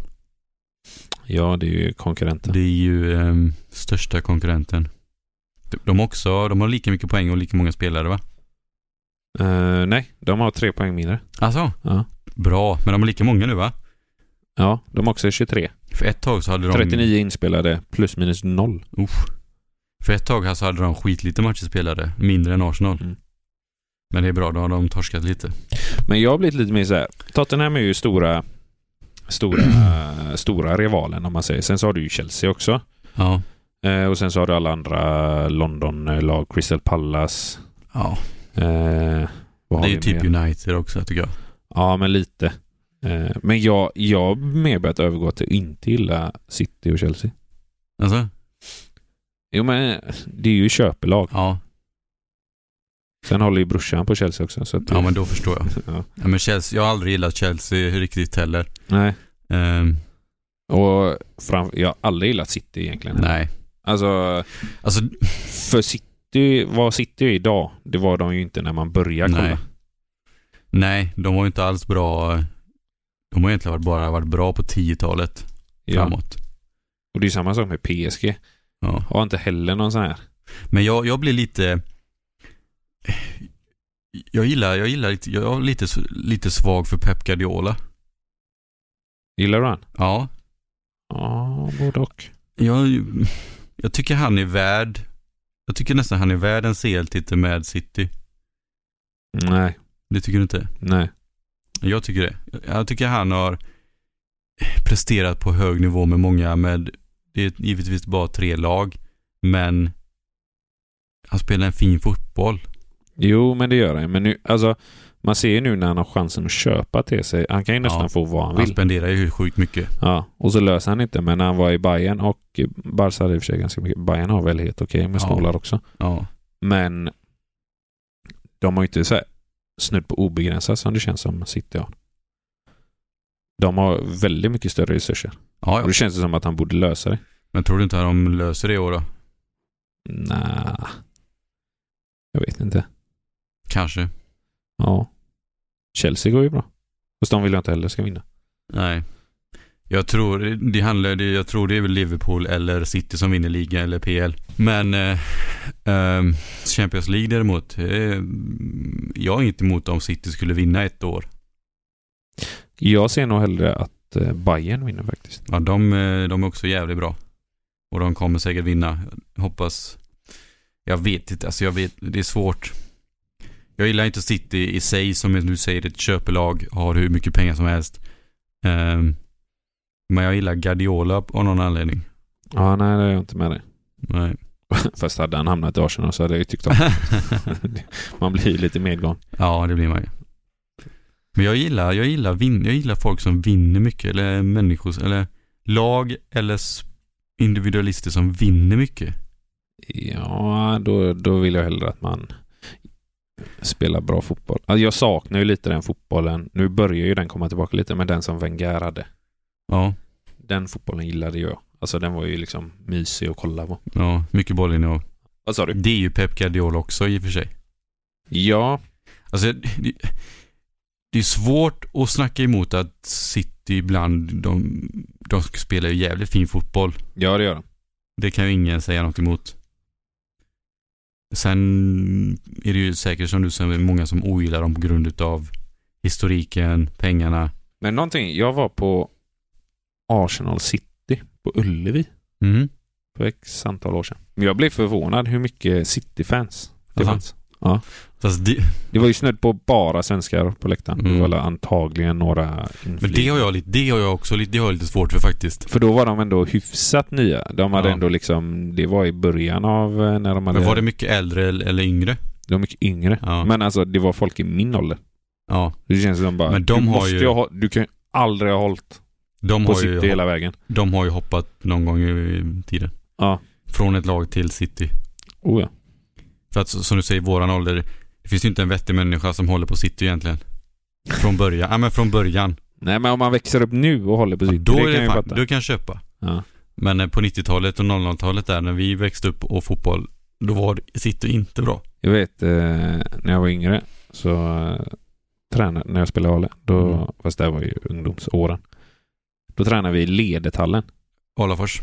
ja, det är ju konkurrenten. Det är ju ehm, största konkurrenten. De- De, också, de har lika mycket poäng och lika många spelare va? Eh, nej, de har tre poäng mindre. Alltså? Ja. Bra, men de har lika många nu va? Ja, de har också 23. För ett tag så hade de... 39 inspelade plus minus noll. Uff. För ett tag här så hade de skitlite matcher spelade, mindre än Arsenal. Mm. Men det är bra, då har de torskat lite. Men jag har blivit lite mer så här. Tottenham är ju stora, stora, stora rivalen om man säger. Sen så har du ju Chelsea också. Ja. Eh, och sen så har du alla andra London-lag. Crystal Palace. Ja, Eh, vad det har är ju vi typ mer? United också tycker jag. Ja, men lite. Eh, men jag, jag har mer börjat övergå till att inte gilla City och Chelsea. Alltså? Jo, men det är ju köpelag. Ja. Sen håller ju brorsan på Chelsea också. Så att, ja, men då förstår jag. Ja. Ja, men Chelsea, jag har aldrig gillat Chelsea riktigt heller. Nej. Ehm, Och fram, jag har aldrig gillat City egentligen. nej. Alltså, Alltså, för City, vad City är idag, det var de ju inte när man började kolla. Nej. nej, de var ju inte alls bra. De har egentligen varit- bara varit bra på 10-talet Ja. framåt. Och det är ju samma sak med PSG. Ja. Har inte heller någon sån här. Men jag, jag blir lite... Jag gillar, jag gillar lite, jag är lite, lite svag för Pep Guardiola. Gillar du han? Ja, Ja, både och. jag, jag tycker han är värd, jag tycker nästan han är värd en CL-titel med City. Nej, Det tycker du inte? nej. Jag tycker det. Jag tycker han har presterat på hög nivå med många, med, det är givetvis bara tre lag, men han spelar en fin fotboll. Jo, men det gör han. Men nu, alltså, man ser ju nu när han har chansen att köpa till sig. Han kan ju nästan Ja. få vad han Han vill. spenderar ju sjukt mycket. Ja, och så löser han inte. Men när han var i Bayern och Barca hade i och för sig ganska mycket. Bayern har väl helt okej med Ja. snålar också. Ja, Men de har ju inte så här snudd på obegränsat som det känns som City har. De har väldigt mycket större resurser. ja, Och ja. det känns det som att han borde lösa det. men tror du inte att de löser det i år då? Nja. Jag vet inte. Kanske. Ja. Chelsea går ju bra. Fast de vill jag inte heller ska vinna. Nej. Jag tror det, handlar, det, jag tror det är väl Liverpool eller City som vinner ligan eller PL. Men eh, ehm, Champions League däremot. Eh, jag är inte emot om City skulle vinna ett år. Jag ser nog hellre att eh, Bayern vinner faktiskt. Ja, de, eh, de är också jävligt bra. Och de kommer säkert vinna. Jag Hoppas. Jag vet inte. Alltså jag vet, det är svårt. Jag gillar inte City i sig som du säger ett köpelag. Har hur mycket pengar som helst. Ehm, men jag gillar Guardiola av någon anledning. Ja, nej, det är jag inte med dig. Nej. Fast hade han hamnat i Arsenal så hade jag ju tyckt om det. Man blir ju lite medgång. ja, det blir man ju. Men jag gillar, jag, gillar vin, jag gillar folk som vinner mycket, eller människor, eller lag eller s- individualister som vinner mycket. Ja, då, då vill jag hellre att man spelar bra fotboll. Alltså, jag saknar ju lite den fotbollen. Nu börjar ju den komma tillbaka lite, men den som Wenger hade. Ja, Den fotbollen gillade jag. Alltså den var ju liksom mysig att kolla på. ja mycket bollinnehav. Vad sa du? Det är ju Pep Guardiola också i och för sig. Ja, Alltså, det, det är svårt att snacka emot att City ibland, de, de spelar ju jävligt fin fotboll. ja det gör den. Det kan ju ingen säga något emot. Sen är det ju säkert som du säger, många som ogillar dem på grund utav historiken, pengarna. Men någonting, jag var på Arsenal City på Ullevi Mm. för ett antal år sedan. Men jag blev förvånad hur mycket City-fans det Aha. fanns. Fast det, Det var ju snudd på bara svenskar på läktaren. Det Mm. var väl antagligen några men det har jag, lite- det har jag också lite, det har jag lite svårt för faktiskt. För då var de ändå hyfsat nya. De hade Ja. ändå liksom, det var i början av eh, när de hade, Men var det mycket äldre eller eller yngre? de var mycket yngre. Ja. Men alltså det var folk i min ålder. Ja, Det känns som bara, Men de du, har måste ju- ju ha, du kan ju aldrig ha hållit de på har, City ju, hela vägen. de har ju hoppat någon gång i tiden. Ja. Från ett lag till City. Oh, ja. För att som du säger, våran ålder, det finns ju inte en vettig människa som håller på City egentligen. Från början, ja men från början. Nej men om man växer upp nu och håller på City, Då, det är kan jag det ju fan, fatta. då kan jag köpa. Ja. Men eh, på 90-talet och 00-talet där när vi växte upp och fotboll, då var det- City inte bra. Jag vet eh, när jag var yngre så eh, tränade, när jag spelade Ale, E, då, Mm. fast det här var ju ungdomsåren. Då tränade vi i Ledethallen. Alafors.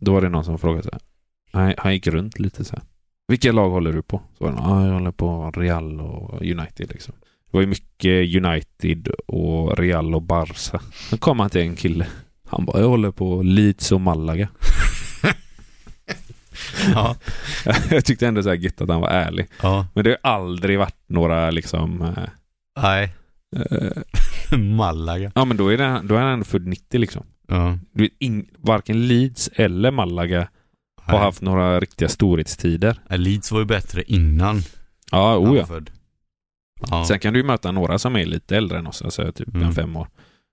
Då var det någon som frågade så här. Han, han gick runt lite så här. Vilka lag håller du på? Så var det någon, ah, jag håller på Real och United liksom. Det var ju mycket United och Real och Barca. Sen kom han till en kille. Han bara, jag håller på Leeds och Malaga. Ja. jag tyckte ändå så här gött att han var ärlig. ja. Men det har ju aldrig varit några liksom eh, Nej. eh, Malaga. Ja, men då är, den, då är han född 90 liksom. Ja. Du vet, ing, varken Leeds eller Malaga har Nej. haft några riktiga storhetstider. Ja, Leeds var ju bättre innan Ja, han oh, var ja. född. Ja. Sen kan du ju möta några som är lite äldre än oss, alltså typ Mm. en fem år.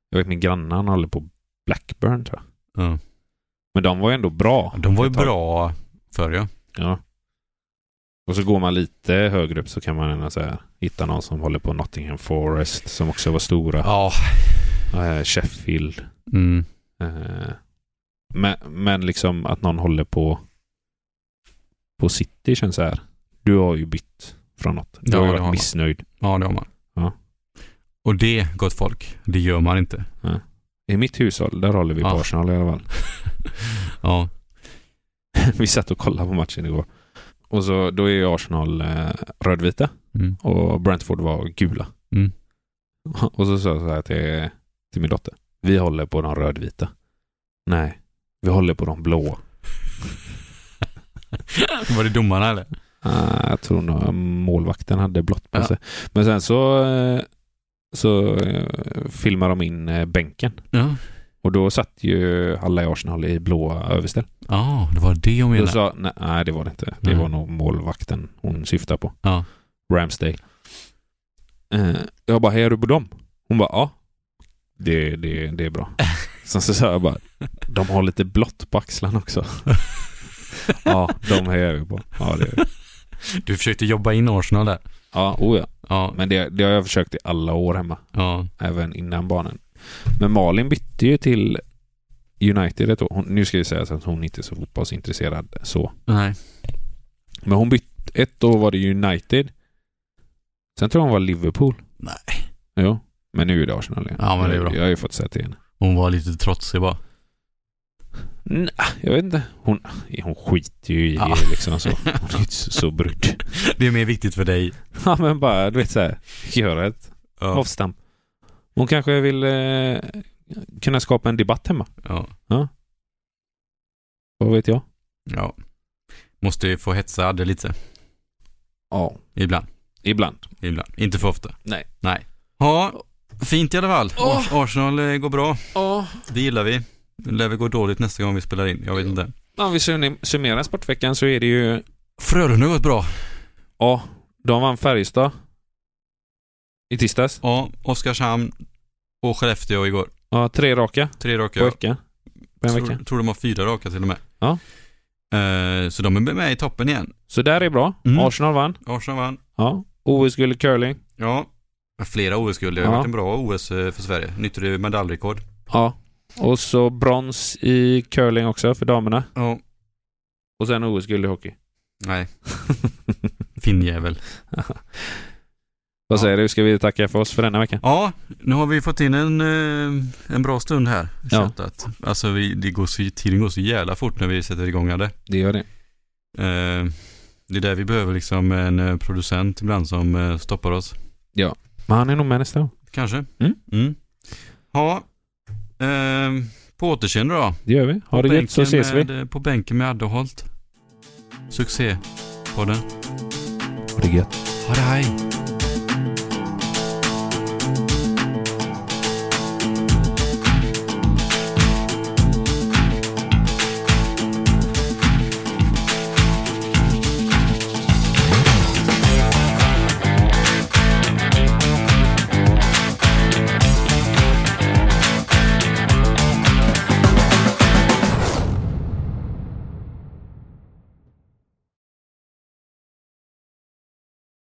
Jag vet min granne, han håller på Blackburn tror jag. Ja. Men de var ju ändå bra. De var ju Ett tag. bra förr ja. Ja. Och så går man lite högre upp så kan man ändå så här, hitta någon som håller på Nottingham Forest som också var stora. Ja. Eh, Sheffield. Mm. Eh, Men, men liksom att någon håller på på City känns så här. Du har ju bytt från något. Du Ja, har ju det har varit man. missnöjd. Ja, det har man. Ja. Och det, gott folk, det gör man inte. I mitt hushåll, där håller vi på Ja. Arsenal i alla fall. Ja. vi satt och kollade på matchen igår. Och så, då är ju Arsenal eh, rödvita Mm. och Brentford var gula. Mm. Och så sa jag så här till, till min dotter. Vi håller på de rödvita. Nej, vi håller på de blåa. Var det domarna eller? Ah, jag tror nog målvakten hade blått på Ja. sig. Men sen så, eh, så eh, filmar de in eh, bänken. Ja. Och då satt ju alla i Arsenal i blåa överställ. Ja, det var det jag Då menade. sa, nej, nej, det var det inte. Det Nej. var nog målvakten hon syftade på. Ja. Ramsdale. Eh, jag bara, hejar du på dem? Hon bara, ja. Det, det, det är bra. Sen så sa jag bara, de har lite blått på axlarna också. ja, de hejar vi på. Ja, det Du försökte jobba in Arsenal där. ja, oh ja. Ja. Men det, det har jag försökt i alla år hemma. Ja. även innan barnen. Men Malin bytte ju till United ett år. Hon, nu ska jag säga att hon inte är så fotbollsintresserad så. Nej. Men hon bytte, ett år var det United. Sen tror jag hon var Liverpool. Nej. Jo, men nu är det Arsenal igen. Ja, men det är bra. Jag har ju fått säga till henne. Hon var lite trotsig bara. Nej, jag vet inte. Hon, hon skiter ju i Ja. det liksom så. Hon är ju inte så, så brydd. Det är mer viktigt för dig. Ja, men bara du vet så här. Göra ett Ja. avstamp. Hon kanske vill eh, kunna skapa en debatt hemma. Ja. Vad vet jag? ja. Måste ju få hetsa Adde lite. Ja, Ibland. ibland. Ibland. Inte för ofta. Nej. Nej. Ja. Fint i alla fall. Åh. Ars- Arsenal eh, går bra. Ja, Det gillar vi. Det lär väl gå dåligt nästa gång vi spelar in. Jag vet inte. om vi sum- summerar sportveckan så är det ju... Frölunda har gått bra. Ja, de vann Färjestad i tisdags. Ja. Oskarshamn och Skellefteå igår. Ja, tre raka Tre raka. på veckan. På en tror, vecka. tror de har fyra raka till och med. Ja. Eh, så de är med i toppen igen. Så där är bra. Mm. Arsenal vann. Arsenal vann. Ja. OS-guld i curling. Ja. Flera OS-guld. Det har Ja. varit en bra OS eh, för Sverige. Nytt medaljrekord. Ja. Och så brons i curling också för damerna. Ja. Och sen OS-guld i hockey. Nej. Finnjävel. Vad Ja. säger du? Ska vi tacka för oss för denna veckan? Ja, nu har vi fått in en, eh, en bra stund här. Ja. Chattat. Alltså vi, det går så, tiden går så jävla fort när vi sätter igång det. Det gör det. Eh, det är där vi behöver liksom en eh, producent ibland som eh, stoppar oss. Men han är nog med nästa gång. Kanske. Mm. Ja. Eh, på återseende då. Det gör vi. På Ha det gött så bänken ses vi. med, eh, På bänken med Addeholt. Succé på den. Ha det gött. Ha det hej.